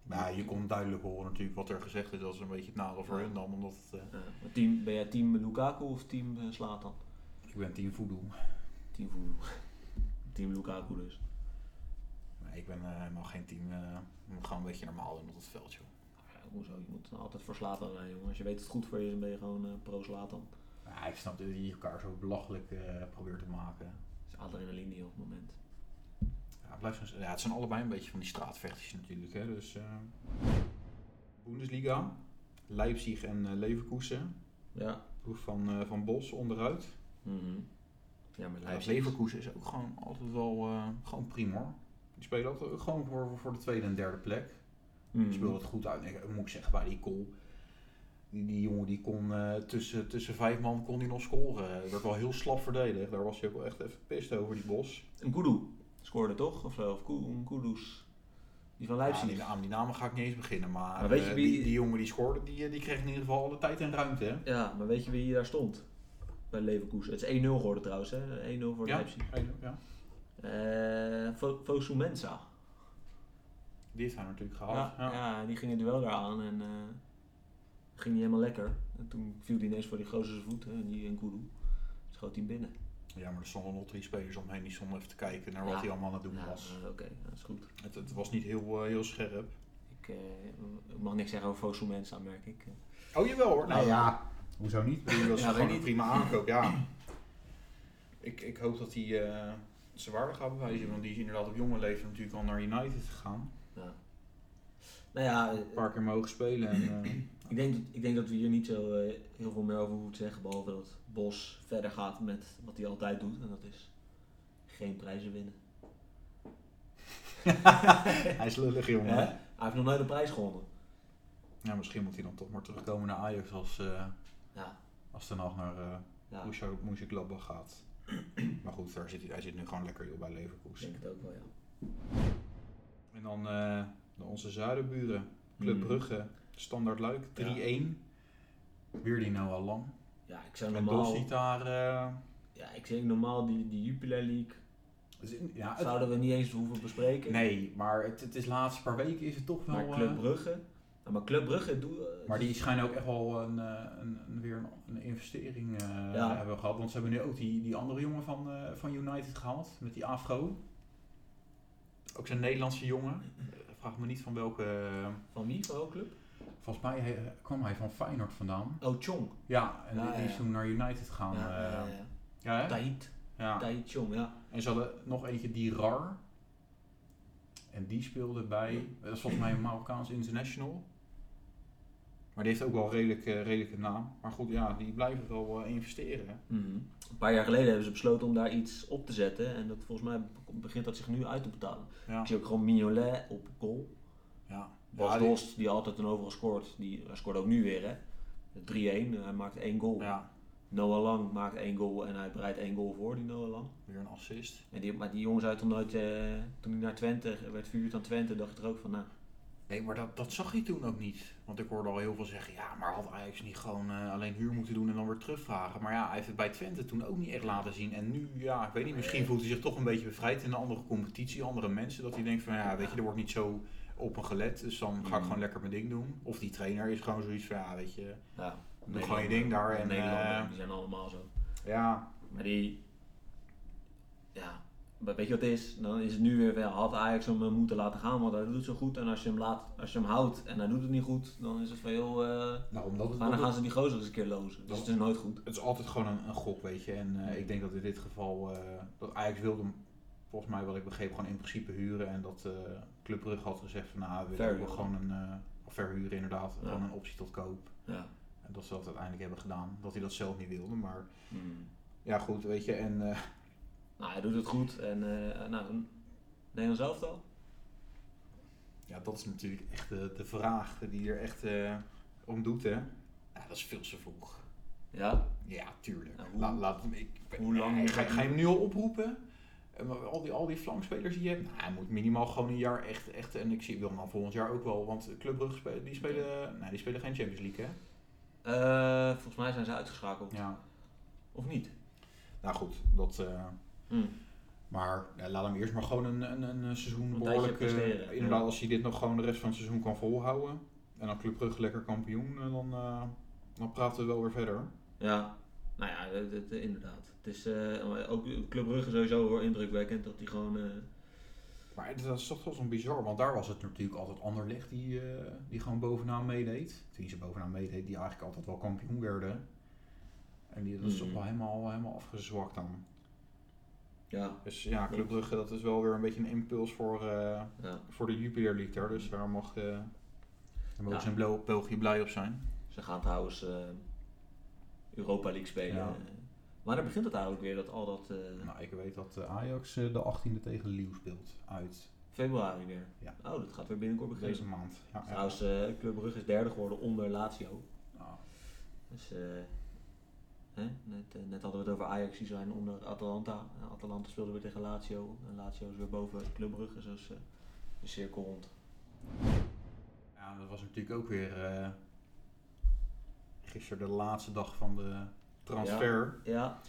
Speaker 3: Mm. Nou, je kon duidelijk horen natuurlijk wat er gezegd is. Dat is een beetje het nadeel voor
Speaker 4: Ja.
Speaker 3: hun dan. Omdat het, eh,
Speaker 4: eh, eh, team, ben jij team Lukaku of team eh, Slatan?
Speaker 3: ik ben team voodoo.
Speaker 4: Team Voodoo. Team Lukaku dus.
Speaker 3: Nee, ik ben eh, helemaal geen team. eh, ik moet gewoon een beetje normaal doen op het veld, joh.
Speaker 4: Ja, hoezo? Je moet altijd voor Slatan zijn, jongen. Als je weet dat het goed voor je is, dan ben je gewoon eh, pro Slatan.
Speaker 3: Ja, ik snap dat je elkaar zo belachelijk eh, probeert te maken.
Speaker 4: Dat is adrenaline op het moment.
Speaker 3: Ja, het, blijft zo- ja, het zijn allebei een beetje van die straatvechters natuurlijk. Hè, dus, eh, Bundesliga, Leipzig en eh, Leverkusen.
Speaker 4: Ja.
Speaker 3: Ploeg van, eh, van Bos onderuit.
Speaker 4: Mhm. Ja,
Speaker 3: Ja,
Speaker 4: maar
Speaker 3: dat
Speaker 4: Leipzig.
Speaker 3: Leverkusen is ook gewoon altijd wel eh, gewoon prima. hoor. Die spelen altijd ook gewoon voor, voor de tweede en derde plek.
Speaker 4: Mhm.
Speaker 3: Die speelde het goed uit. Ik moet ik zeggen, bij die goal. Die, die jongen die kon eh, tussen, tussen vijf man kon die nog scoren. Het werd wel heel slap verdedigd. Daar was hij ook wel echt even pist over, die Bos.
Speaker 4: En Kudu scoorde toch? Of zo? Of Ku- Kudus. Die van
Speaker 3: Ja,
Speaker 4: Leipzig.
Speaker 3: die, aan die namen ga ik niet eens beginnen. Maar,
Speaker 4: Maar weet
Speaker 3: eh,
Speaker 4: je wie-
Speaker 3: die, die jongen die scoorde, die, eh, die kreeg in ieder geval alle tijd en ruimte. hè?
Speaker 4: Ja, maar weet je wie daar stond? bij Leverkusen. Het is 1-0 geworden trouwens, hè? 1-0 voor
Speaker 3: Ja,
Speaker 4: Leipzig.
Speaker 3: ja.
Speaker 4: Eh, Fo- Fosu Mensah.
Speaker 3: Die heeft hij natuurlijk gehad.
Speaker 4: Ja, ja. die ging het duel daar aan en eh, ging niet helemaal lekker. En toen viel die ineens voor die gozer zijn voet, hè, die en Kudu. Schoot hij hem binnen.
Speaker 3: Ja, maar er stonden nog drie spelers omheen die stonden even te kijken naar
Speaker 4: Ja.
Speaker 3: wat hij allemaal aan het doen
Speaker 4: Ja,
Speaker 3: was.
Speaker 4: eh, oké, dat is goed.
Speaker 3: Het, het was niet heel, eh, heel scherp.
Speaker 4: Ik, eh, ik mag niks zeggen over Fosu Mensah, merk ik. Eh,
Speaker 3: Oh jawel hoor.
Speaker 4: Nou
Speaker 3: ja, hoezo niet? Ik bedoel, Dat is
Speaker 4: Ja,
Speaker 3: gewoon
Speaker 4: weet
Speaker 3: een
Speaker 4: niet.
Speaker 3: prima aankoop, ja. Ik, ik hoop dat hij eh, zijn waarde gaat bewijzen, want die is inderdaad op jonge leeftijd natuurlijk al naar United gegaan.
Speaker 4: Ja. Nou ja, eh,
Speaker 3: Een paar keer mogen spelen en eh,
Speaker 4: ik denk, dat, ik denk dat we hier niet zo eh, heel veel meer over hoeven te zeggen. Behalve dat Bos verder gaat met wat hij altijd doet. En dat is geen prijzen winnen.
Speaker 3: hij is lullig jongen.
Speaker 4: Hè? Hij heeft nog nooit een prijs gewonnen.
Speaker 3: Ja, misschien moet hij dan toch maar terugkomen naar Ajax als, eh
Speaker 4: Ja,
Speaker 3: als Ten Hag naar eh
Speaker 4: ja ik
Speaker 3: Borussia Mönchengladbach gaat. Maar goed, daar zit hij, hij zit nu gewoon lekker joh, bij Leverkusen.
Speaker 4: denk het ook wel, ja.
Speaker 3: En dan eh, de onze zuidenburen. Club
Speaker 4: Hmm.
Speaker 3: Brugge, Standaard Luik, 3-1. Weer die nou al lang.
Speaker 4: Ja, ik zou
Speaker 3: En
Speaker 4: normaal...
Speaker 3: Dossi daar... eh,
Speaker 4: Ja, ik zeg normaal die, die Jupiler League
Speaker 3: is in- ja, het-
Speaker 4: zouden we niet eens hoeven bespreken.
Speaker 3: nee, maar het, het is de laatste paar weken is het toch wel...
Speaker 4: maar
Speaker 3: eh,
Speaker 4: Club Brugge... Nou, maar Club Brugge... Doe, eh,
Speaker 3: maar die schijnen ook echt wel een, eh, een, een- weer een, een investering eh,
Speaker 4: Ja.
Speaker 3: hebben gehad. Want ze hebben nu ook die, die andere jongen van, eh, van United gehaald. Met die afro. Ook zijn Nederlandse jongen. Eh, Vraag me niet van welke... eh,
Speaker 4: Van wie? Van welke club?
Speaker 3: volgens mij eh, kwam hij van Feyenoord vandaan.
Speaker 4: Oh, Chong.
Speaker 3: Ja, en
Speaker 4: Ja,
Speaker 3: die- die
Speaker 4: ja,
Speaker 3: is
Speaker 4: ja.
Speaker 3: toen naar United gegaan.
Speaker 4: ja,
Speaker 3: eh,
Speaker 4: ja, ja.
Speaker 3: ja, hè? Ah.
Speaker 4: Tahit.
Speaker 3: ja.
Speaker 4: Tahit Chong, ja.
Speaker 3: En ze hadden nog eentje, die RAR. En die speelde bij, dat is volgens mij een Marokkaans international. Maar die heeft ook wel een redelijke, redelijke naam. Maar goed, ja, die blijven wel eh, investeren. hè.
Speaker 4: Mhm. Een paar jaar geleden hebben ze besloten om daar iets op te zetten. En dat, volgens mij begint dat zich nu uit te betalen.
Speaker 3: Ja.
Speaker 4: Ik zie ook gewoon Mignolet op goal.
Speaker 3: Ja.
Speaker 4: Bas
Speaker 3: Ja, die-
Speaker 4: Dost, die altijd een overal scoort. Die hij scoort ook nu weer, hè. 3-1, hij maakt één goal.
Speaker 3: ja,
Speaker 4: Noah Lang maakt één goal en hij bereidt één goal voor, die Noah Lang.
Speaker 3: weer een assist.
Speaker 4: En die, maar die jongens uit toen nooit, eh, toen hij naar Twente werd verhuurd aan Twente, dacht ik er ook van, nou,
Speaker 3: Nee, maar dat, dat zag je toen ook niet. Want ik hoorde al heel veel zeggen, ja, maar had Ajax niet gewoon eh, alleen huur moeten doen en dan weer terugvragen. Maar ja, hij heeft het bij Twente toen ook niet echt laten zien. En nu, ja, ik weet niet, misschien voelt hij zich toch een beetje bevrijd in een andere competitie, andere mensen. Dat hij denkt van, ja, weet je, er wordt niet zo op me gelet, dus dan ga ik
Speaker 4: Mm.
Speaker 3: gewoon lekker mijn ding doen. Of die trainer is gewoon zoiets van, ja, weet je,
Speaker 4: ja.
Speaker 3: doe gewoon je ding daar. En,
Speaker 4: Nederlander,
Speaker 3: eh,
Speaker 4: die zijn allemaal zo.
Speaker 3: ja,
Speaker 4: Maar die, ja, maar weet je wat het is? Dan is het nu weer wel, had Ajax hem eh, moeten laten gaan, want hij doet zo goed. En als je hem, laat, als je hem houdt en hij doet het niet goed, dan is het van, joh, eh,
Speaker 3: nou, omdat het,
Speaker 4: ga- dan gaan ze die gozer eens een keer lozen. Dus
Speaker 3: Dat-
Speaker 4: het is nooit goed.
Speaker 3: het is altijd gewoon een, een gok, weet je. En eh, ik denk dat in dit geval, eh, dat Ajax wilde hem, volgens mij wat ik begreep, gewoon in principe huren. En dat eh Club Brugge had gezegd van, nou, we willen ook
Speaker 4: Verhuren.
Speaker 3: wel gewoon een, eh, of verhuren inderdaad,
Speaker 4: Ja.
Speaker 3: gewoon een optie tot koop.
Speaker 4: Ja.
Speaker 3: En dat ze dat uiteindelijk hebben gedaan, dat hij dat zelf niet wilde. Maar Mm. ja, goed, weet je. En eh,
Speaker 4: Nou, hij doet het goed. En, eh nou, een- Nederlands elftal?
Speaker 3: ja, dat is natuurlijk echt de, de vraag die er echt eh, om doet, hè. Ja, dat is veel te vroeg.
Speaker 4: Ja.
Speaker 3: Ja, tuurlijk.
Speaker 4: Nou, hoe-
Speaker 3: laat, laat hem, ik,
Speaker 4: hoe lang
Speaker 3: Nee,
Speaker 4: moet
Speaker 3: ga,
Speaker 4: hij-
Speaker 3: ga je hem nu al oproepen? Eh, maar Al die, al die flankspelers die je hebt. Nou, hij moet minimaal gewoon een jaar echt. echt en ik zie wil hem dan volgend jaar ook wel. Want Club Brugge spelen, die spelen, nee, die spelen geen Champions League, hè?
Speaker 4: Eh, volgens mij zijn ze uitgeschakeld.
Speaker 3: Ja.
Speaker 4: Of niet?
Speaker 3: Nou goed, dat. eh,
Speaker 4: Hmm.
Speaker 3: Maar ja, laat hem eerst maar gewoon een, een, een, eh, seizoen
Speaker 4: Een
Speaker 3: behoorlijk.
Speaker 4: tijdje
Speaker 3: eh,
Speaker 4: presteren.
Speaker 3: inderdaad,
Speaker 4: Ja.
Speaker 3: als hij dit nog gewoon de rest van het seizoen kan volhouden. En dan Club Brugge lekker kampioen. En dan, eh, dan praten we wel weer verder.
Speaker 4: Ja, nou ja, dat- dat- inderdaad. Het is eh, ook Club Brugge sowieso hoor, indrukwekkend dat die gewoon... eh,
Speaker 3: Maar het- dat is toch wel zo'n bizar, want daar was het natuurlijk altijd Anderlecht die, eh, die gewoon bovenaan meedeed. Die ze bovenaan meedeed, die eigenlijk altijd wel kampioen werden. En die, dat is
Speaker 4: Mhm.
Speaker 3: toch wel helemaal, helemaal afgezwakt dan.
Speaker 4: ja,
Speaker 3: Dus ja, Club Brugge, dat is wel weer een beetje een impuls voor, eh,
Speaker 4: ja,
Speaker 3: voor de Jupiler League daar. Dus daar mag, eh daar mogen
Speaker 4: Ja.
Speaker 3: ze in Bel- België blij op zijn.
Speaker 4: ze gaan trouwens eh, Europa League spelen.
Speaker 3: Ja.
Speaker 4: Eh, Maar dan begint het eigenlijk weer, dat al dat eh,
Speaker 3: Nou, ik weet dat eh, Ajax eh, de 18e tegen Lille speelt uit
Speaker 4: februari weer.
Speaker 3: Ja.
Speaker 4: Oh, dat gaat weer binnenkort
Speaker 3: deze
Speaker 4: beginnen.
Speaker 3: maand. Ja, ja.
Speaker 4: Trouwens, eh, Club Brugge is derde geworden onder Lazio.
Speaker 3: Nou,
Speaker 4: Dus eh, hè? Net, eh, net hadden we het over Ajax, die zijn onder Atalanta. En Atalanta speelde weer tegen Lazio. En Lazio is weer boven Club Brugge, dus eh de cirkel rond.
Speaker 3: Ja, dat was natuurlijk ook weer eh, gisteren de laatste dag van de transfer.
Speaker 4: Ja.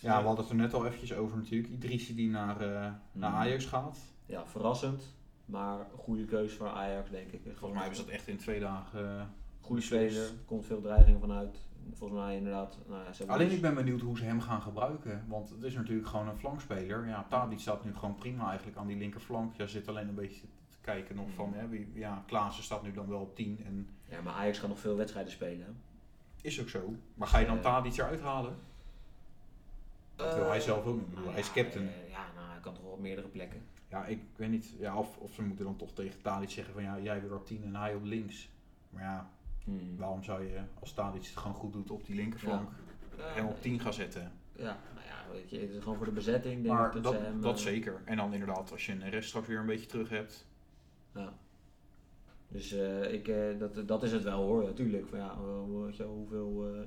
Speaker 3: Ja, we hadden het er net al eventjes over natuurlijk. Idrissi die naar, eh, naar Ajax gaat.
Speaker 4: Ja, verrassend. Maar een goede keuze voor Ajax, denk ik.
Speaker 3: Volgens mij hebben ze dat echt in twee dagen. eh,
Speaker 4: Goede speler, er komt veel dreiging vanuit. Volgens mij inderdaad. Nou ja, ze hebben
Speaker 3: Alleen
Speaker 4: dus-
Speaker 3: ik ben benieuwd hoe ze hem gaan gebruiken. Want het is natuurlijk gewoon een flankspeler. Ja, Tadic staat nu gewoon prima eigenlijk aan die linkerflank. Ja, zit alleen een beetje te kijken nog van... Hè, wie, ja, Klaassen staat nu dan wel op 10 en
Speaker 4: Ja, maar Ajax kan nog veel wedstrijden spelen. hè.
Speaker 3: is ook zo. Maar ga je dan
Speaker 4: Ja.
Speaker 3: Tadic eruit halen? Dat wil hij
Speaker 4: Eh,
Speaker 3: zelf ook niet. Ik bedoel,
Speaker 4: nou
Speaker 3: Hij is
Speaker 4: ja,
Speaker 3: captain.
Speaker 4: eh, Ja, nou, hij kan toch wel op meerdere plekken.
Speaker 3: Ja, ik weet niet. Ja, of, of ze moeten dan toch tegen Tadic zeggen van... Ja, jij weer op 10 en hij op links. Maar ja, waarom zou je als Tadic het gewoon goed doet op die linkerflank...
Speaker 4: Ja,
Speaker 3: hem op 10 gaan zetten?
Speaker 4: Eh, Ja, nou ja, weet je, het is gewoon voor de bezetting. Denk ik
Speaker 3: Maar
Speaker 4: dat,
Speaker 3: dat,
Speaker 4: ze hem,
Speaker 3: dat
Speaker 4: eh,
Speaker 3: zeker. En dan inderdaad, als je een rest straks weer een beetje terug hebt.
Speaker 4: Ja. Dus eh, ik, eh, dat, dat is het wel hoor, natuurlijk. Van, ja, eh, weet je, wel, hoeveel, eh,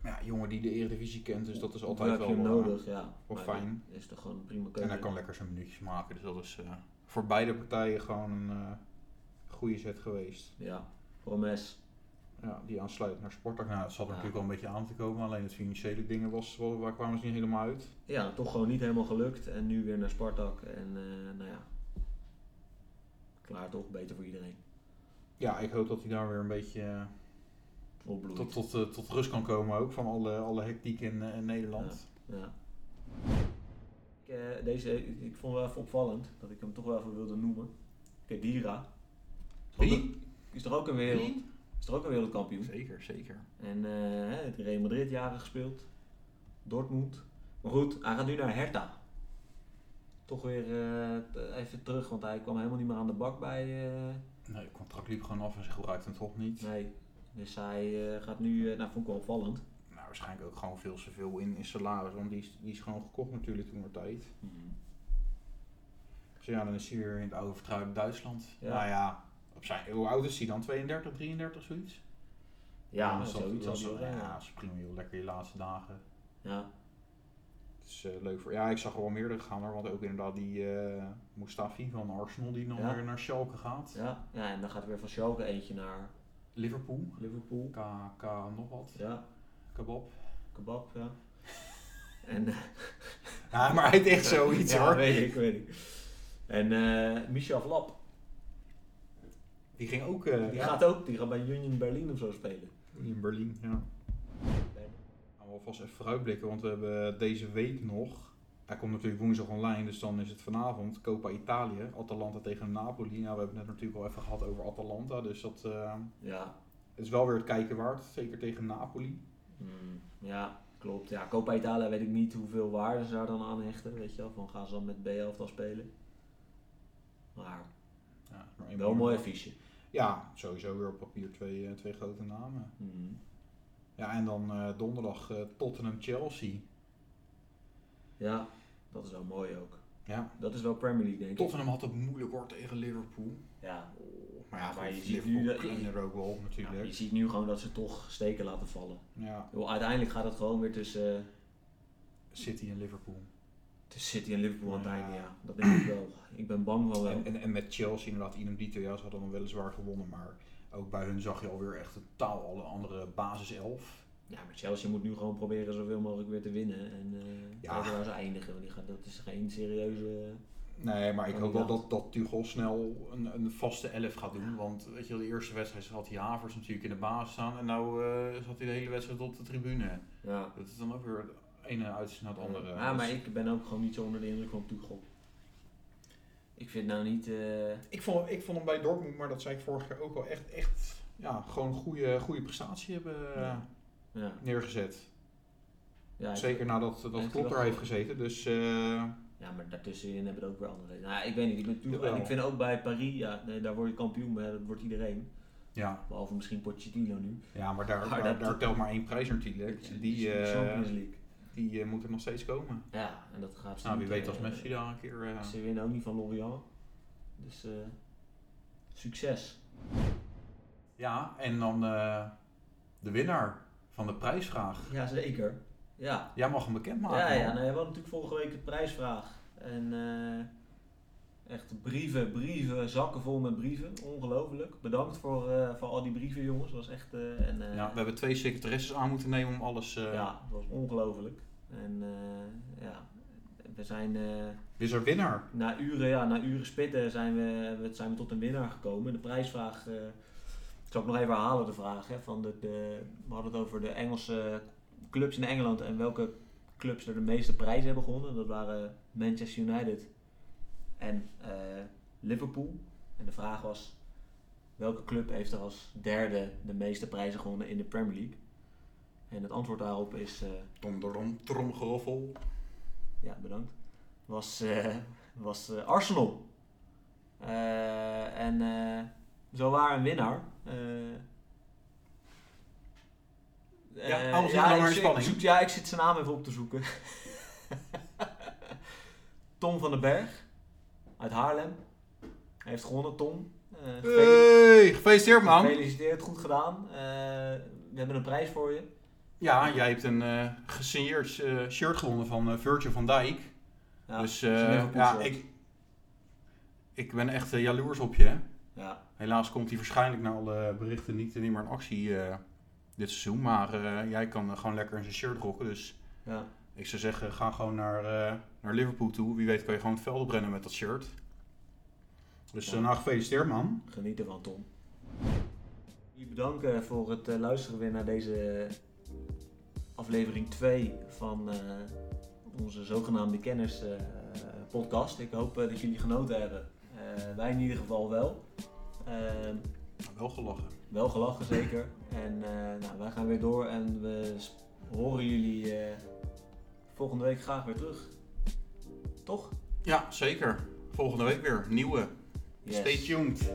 Speaker 3: Maar ja, jongen die de Eredivisie kent, dus dat is
Speaker 4: hoeveel
Speaker 3: altijd
Speaker 4: heb je
Speaker 3: wel
Speaker 4: hem
Speaker 3: eh,
Speaker 4: nodig? Ja.
Speaker 3: wel
Speaker 4: Maar
Speaker 3: fijn.
Speaker 4: dat Is toch gewoon een prima
Speaker 3: En
Speaker 4: keuze.
Speaker 3: hij kan lekker zijn minuutjes maken, dus dat is eh, voor beide partijen gewoon een eh, goede zet geweest.
Speaker 4: Ja, Promes.
Speaker 3: Ja, die aansluit naar Sportak. Nou, het zat er
Speaker 4: Ja.
Speaker 3: natuurlijk wel een beetje aan te komen, alleen het financiële dingen was, wel- waar kwamen ze niet helemaal uit.
Speaker 4: Ja, toch gewoon niet helemaal gelukt. En nu weer naar Spartak. En eh, nou ja, klaar toch, beter voor iedereen.
Speaker 3: Ja, ik hoop dat hij daar weer een beetje eh,
Speaker 4: Opbloeit.
Speaker 3: tot, tot, eh, tot rust kan komen ook, van alle, alle hectiek in, eh, in Nederland.
Speaker 4: Ja. Ik, eh, deze, eh, ik vond wel even opvallend dat ik hem toch wel even wilde noemen. Kedira.
Speaker 3: Wie?
Speaker 4: Is er ook een wereld? Is er ook een wereldkampioen?
Speaker 3: Zeker, zeker.
Speaker 4: En eh, hè, het Real Madrid jaren gespeeld. Dortmund. Maar goed, hij gaat nu naar Hertha. Toch weer eh, t- even terug, want hij kwam helemaal niet meer aan de bak bij. eh,
Speaker 3: Nee, het contract liep gewoon af en ze gebruikten het toch niet.
Speaker 4: nee. Dus hij eh, gaat nu, eh, nou vond ik wel opvallend.
Speaker 3: Nou, waarschijnlijk ook gewoon veel te veel in, in salaris, want die is, die is gewoon gekocht natuurlijk toen tijd.
Speaker 4: Mhm.
Speaker 3: Dus ja, dan is hij weer in het oude vertrouwde Duitsland.
Speaker 4: Ja.
Speaker 3: Nou ja, op zijn, hoe oud is hij dan? 32, 33, zoiets?
Speaker 4: Ja,
Speaker 3: dat,
Speaker 4: zoiets
Speaker 3: dat
Speaker 4: zal hij wel
Speaker 3: ja,
Speaker 4: zijn,
Speaker 3: ja,
Speaker 4: ja.
Speaker 3: dat is prima joh. Lekker je laatste dagen.
Speaker 4: Ja,
Speaker 3: Het is eh, leuk voor... Ja, ik zag er wel meerdere gaan hoor. Want ook inderdaad die eh Mustafi van Arsenal die dan
Speaker 4: Ja.
Speaker 3: weer naar Schalke gaat.
Speaker 4: ja. ja, en dan gaat er weer van Schalke eentje naar
Speaker 3: Liverpool.
Speaker 4: Liverpool.
Speaker 3: K, K nog wat.
Speaker 4: Ja,
Speaker 3: Kebab.
Speaker 4: kebab, ja. En, eh,
Speaker 3: Ja, maar hij deed zoiets
Speaker 4: ja,
Speaker 3: hoor.
Speaker 4: weet ik, weet ik. En eh Michel Vlap,
Speaker 3: Die ging ook eh,
Speaker 4: die
Speaker 3: ja,
Speaker 4: gaat ook, die gaat bij Union Berlin of zo spelen.
Speaker 3: in Berlien. Ja. Gaan we alvast even vooruitblikken, want we hebben deze week nog. Hij komt natuurlijk woensdag online, dus dan is het vanavond Copa Italië, Atalanta tegen Napoli. Nou, we hebben het net natuurlijk al even gehad over Atalanta, dus dat eh,
Speaker 4: Ja,
Speaker 3: het is wel weer het kijken waard, zeker tegen Napoli.
Speaker 4: mm, ja klopt. Ja, Copa Italia weet ik niet hoeveel waarde ze daar dan aan hechten, weet je wel. Van gaan ze dan met B11 dan spelen. Maar
Speaker 3: Ja, maar één
Speaker 4: wel een
Speaker 3: mooi.
Speaker 4: mooi affiche.
Speaker 3: Ja, sowieso weer op papier twee, eh, twee grote namen.
Speaker 4: Mhm.
Speaker 3: Ja, en dan eh, donderdag eh, Tottenham-Chelsea.
Speaker 4: Ja, dat is wel mooi ook.
Speaker 3: Ja,
Speaker 4: Dat is wel Premier League, denk ik.
Speaker 3: Tottenham had het moeilijk hoor tegen Liverpool.
Speaker 4: Ja,
Speaker 3: Maar ja,
Speaker 4: Maar
Speaker 3: goed,
Speaker 4: je ziet nu
Speaker 3: Liverpool
Speaker 4: dat-
Speaker 3: kan er ook wel op
Speaker 4: Ja, je
Speaker 3: natuurlijk.
Speaker 4: ziet nu gewoon dat ze toch steken laten vallen.
Speaker 3: Ja,
Speaker 4: Ik bedoel, uiteindelijk gaat het gewoon weer tussen... eh,
Speaker 3: City en Liverpool.
Speaker 4: Tussen City en Liverpool aan het
Speaker 3: Ja.
Speaker 4: einde, ja. Dat denk ik wel. Ik ben bang van wel.
Speaker 3: En, en, en met Chelsea inderdaad, Inam Dito, ja, ze hadden dan weliswaar gewonnen, maar ook bij hun zag je alweer echt totaal alle andere basiself.
Speaker 4: Ja, maar Chelsea moet nu gewoon proberen zoveel mogelijk weer te winnen. En eh
Speaker 3: Ja.
Speaker 4: kijken waar ze eindigen. Want die gaat, dat is geen serieuze...
Speaker 3: Nee, maar ik hoop wel
Speaker 4: Inderdaad.
Speaker 3: dat, dat Tuchel snel een, een vaste elf gaat doen, want weet je wel, de eerste wedstrijd had hij Havers natuurlijk in de baas staan en nou eh, zat hij de hele wedstrijd op de tribune.
Speaker 4: Ja.
Speaker 3: Dat is dan ook weer het ene uiterste naar het andere.
Speaker 4: Ja, maar
Speaker 3: Dus
Speaker 4: ik ben ook gewoon niet zo onder de indruk van Tuchel. Ik vind nou niet... eh,
Speaker 3: ik, vond, ik vond hem bij Dortmund, maar dat zei ik vorig jaar ook wel echt, echt ja, gewoon een goede, goede prestatie hebben eh,
Speaker 4: Ja. ja.
Speaker 3: neergezet.
Speaker 4: Ja, ik-
Speaker 3: Zeker nadat
Speaker 4: hij
Speaker 3: dat
Speaker 4: heeft
Speaker 3: Klopp
Speaker 4: wel
Speaker 3: er heeft
Speaker 4: goed.
Speaker 3: gezeten, dus... eh,
Speaker 4: ja, maar daartussenin hebben we ook weer andere... Nou, ik weet niet. Ik, bedoel, Tuchel-
Speaker 3: Jawel.
Speaker 4: en ik vind ook bij Paris, ja, nee, daar word je kampioen. Maar dat wordt iedereen.
Speaker 3: ja,
Speaker 4: Behalve misschien Pochettino nu.
Speaker 3: Ja, maar daar,
Speaker 4: Maar
Speaker 3: daar,
Speaker 4: dat-
Speaker 3: daar telt maar één prijs natuurlijk. Die, eh,
Speaker 4: Champions League.
Speaker 3: die eh, moet er nog steeds komen.
Speaker 4: Ja, en dat gaat ze
Speaker 3: Nou, wie
Speaker 4: niet,
Speaker 3: weet
Speaker 4: eh,
Speaker 3: als Messi daar een keer... eh,
Speaker 4: Ze winnen ook niet van Lorient. Dus eh, succes.
Speaker 3: Ja, en dan eh, de winnaar van de prijsvraag.
Speaker 4: Jazeker. Ja.
Speaker 3: Jij mag hem bekendmaken.
Speaker 4: Ja, ja,
Speaker 3: man.
Speaker 4: nou, we hadden natuurlijk vorige week de prijsvraag. En eh, Echt brieven, brieven, zakken vol met brieven. Ongelooflijk. Bedankt voor, eh, voor al die brieven, jongens. Dat was echt. eh, en, eh,
Speaker 3: Ja, we hebben twee secretaresses aan moeten nemen om alles... eh
Speaker 4: ja, dat was ongelooflijk. En eh, ja, we zijn eh,
Speaker 3: Is er winnaar?
Speaker 4: na uren, ja, na uren spitten zijn we, we- zijn we tot een winnaar gekomen. De prijsvraag, eh ik zal ik nog even herhalen de vraag. Hè, van de, de, we hadden het over de Engelse clubs in Engeland en welke clubs er de meeste prijzen hebben gewonnen. Dat waren Manchester United en eh, Liverpool. En de vraag was, welke club heeft er als derde de meeste prijzen gewonnen in de Premier League? En het antwoord daarop is... eh,
Speaker 3: Donderom, tromgeroffel.
Speaker 4: ja, bedankt. Was, eh, was eh, Arsenal. Eh, en eh, zo waren een winnaar. Eh,
Speaker 3: Ja,
Speaker 4: eh,
Speaker 3: alles in allemaal
Speaker 4: ik
Speaker 3: in
Speaker 4: zoek-
Speaker 3: spanning.
Speaker 4: zoek- ja, ik zit zijn naam even op te zoeken. Tom van den Berg uit Haarlem. Hij heeft gewonnen, Tom. Eh, gefeli-
Speaker 3: Hey, gefeliciteerd man.
Speaker 4: Gefeliciteerd, goed gedaan. Eh, we hebben een prijs voor je.
Speaker 3: Ja, jij hebt een eh gesigneerd eh, shirt gewonnen van eh, Virgil van Dijk.
Speaker 4: Ja,
Speaker 3: dus
Speaker 4: dat is een
Speaker 3: eh,
Speaker 4: Liverpool
Speaker 3: ja,
Speaker 4: shirt.
Speaker 3: ik, ik ben echt eh, jaloers op je. hè.
Speaker 4: ja,
Speaker 3: Helaas komt hij waarschijnlijk na alle berichten niet, niet meer in actie eh, dit seizoen. Maar eh, jij kan eh, gewoon lekker in zijn shirt rocken. Dus
Speaker 4: ja.
Speaker 3: ik zou zeggen, ga gewoon naar, eh, naar Liverpool toe. Wie weet kan je gewoon het veld oprennen met dat shirt. Dus eh,
Speaker 4: Ja.
Speaker 3: nou, gefeliciteerd man.
Speaker 4: Geniet ervan, Tom. Jullie bedanken voor het eh, luisteren weer naar deze aflevering 2 van eh, onze zogenaamde kenners eh, podcast. Ik hoop eh, dat jullie genoten hebben. Eh, wij in ieder geval wel. Eh,
Speaker 3: Wel gelachen.
Speaker 4: wel gelachen zeker. En eh, nou, wij gaan weer door en we s- horen jullie eh, volgende week graag weer terug. Toch?
Speaker 3: Ja, zeker. Volgende week weer. Nieuwe.
Speaker 4: Yes.
Speaker 3: Stay tuned.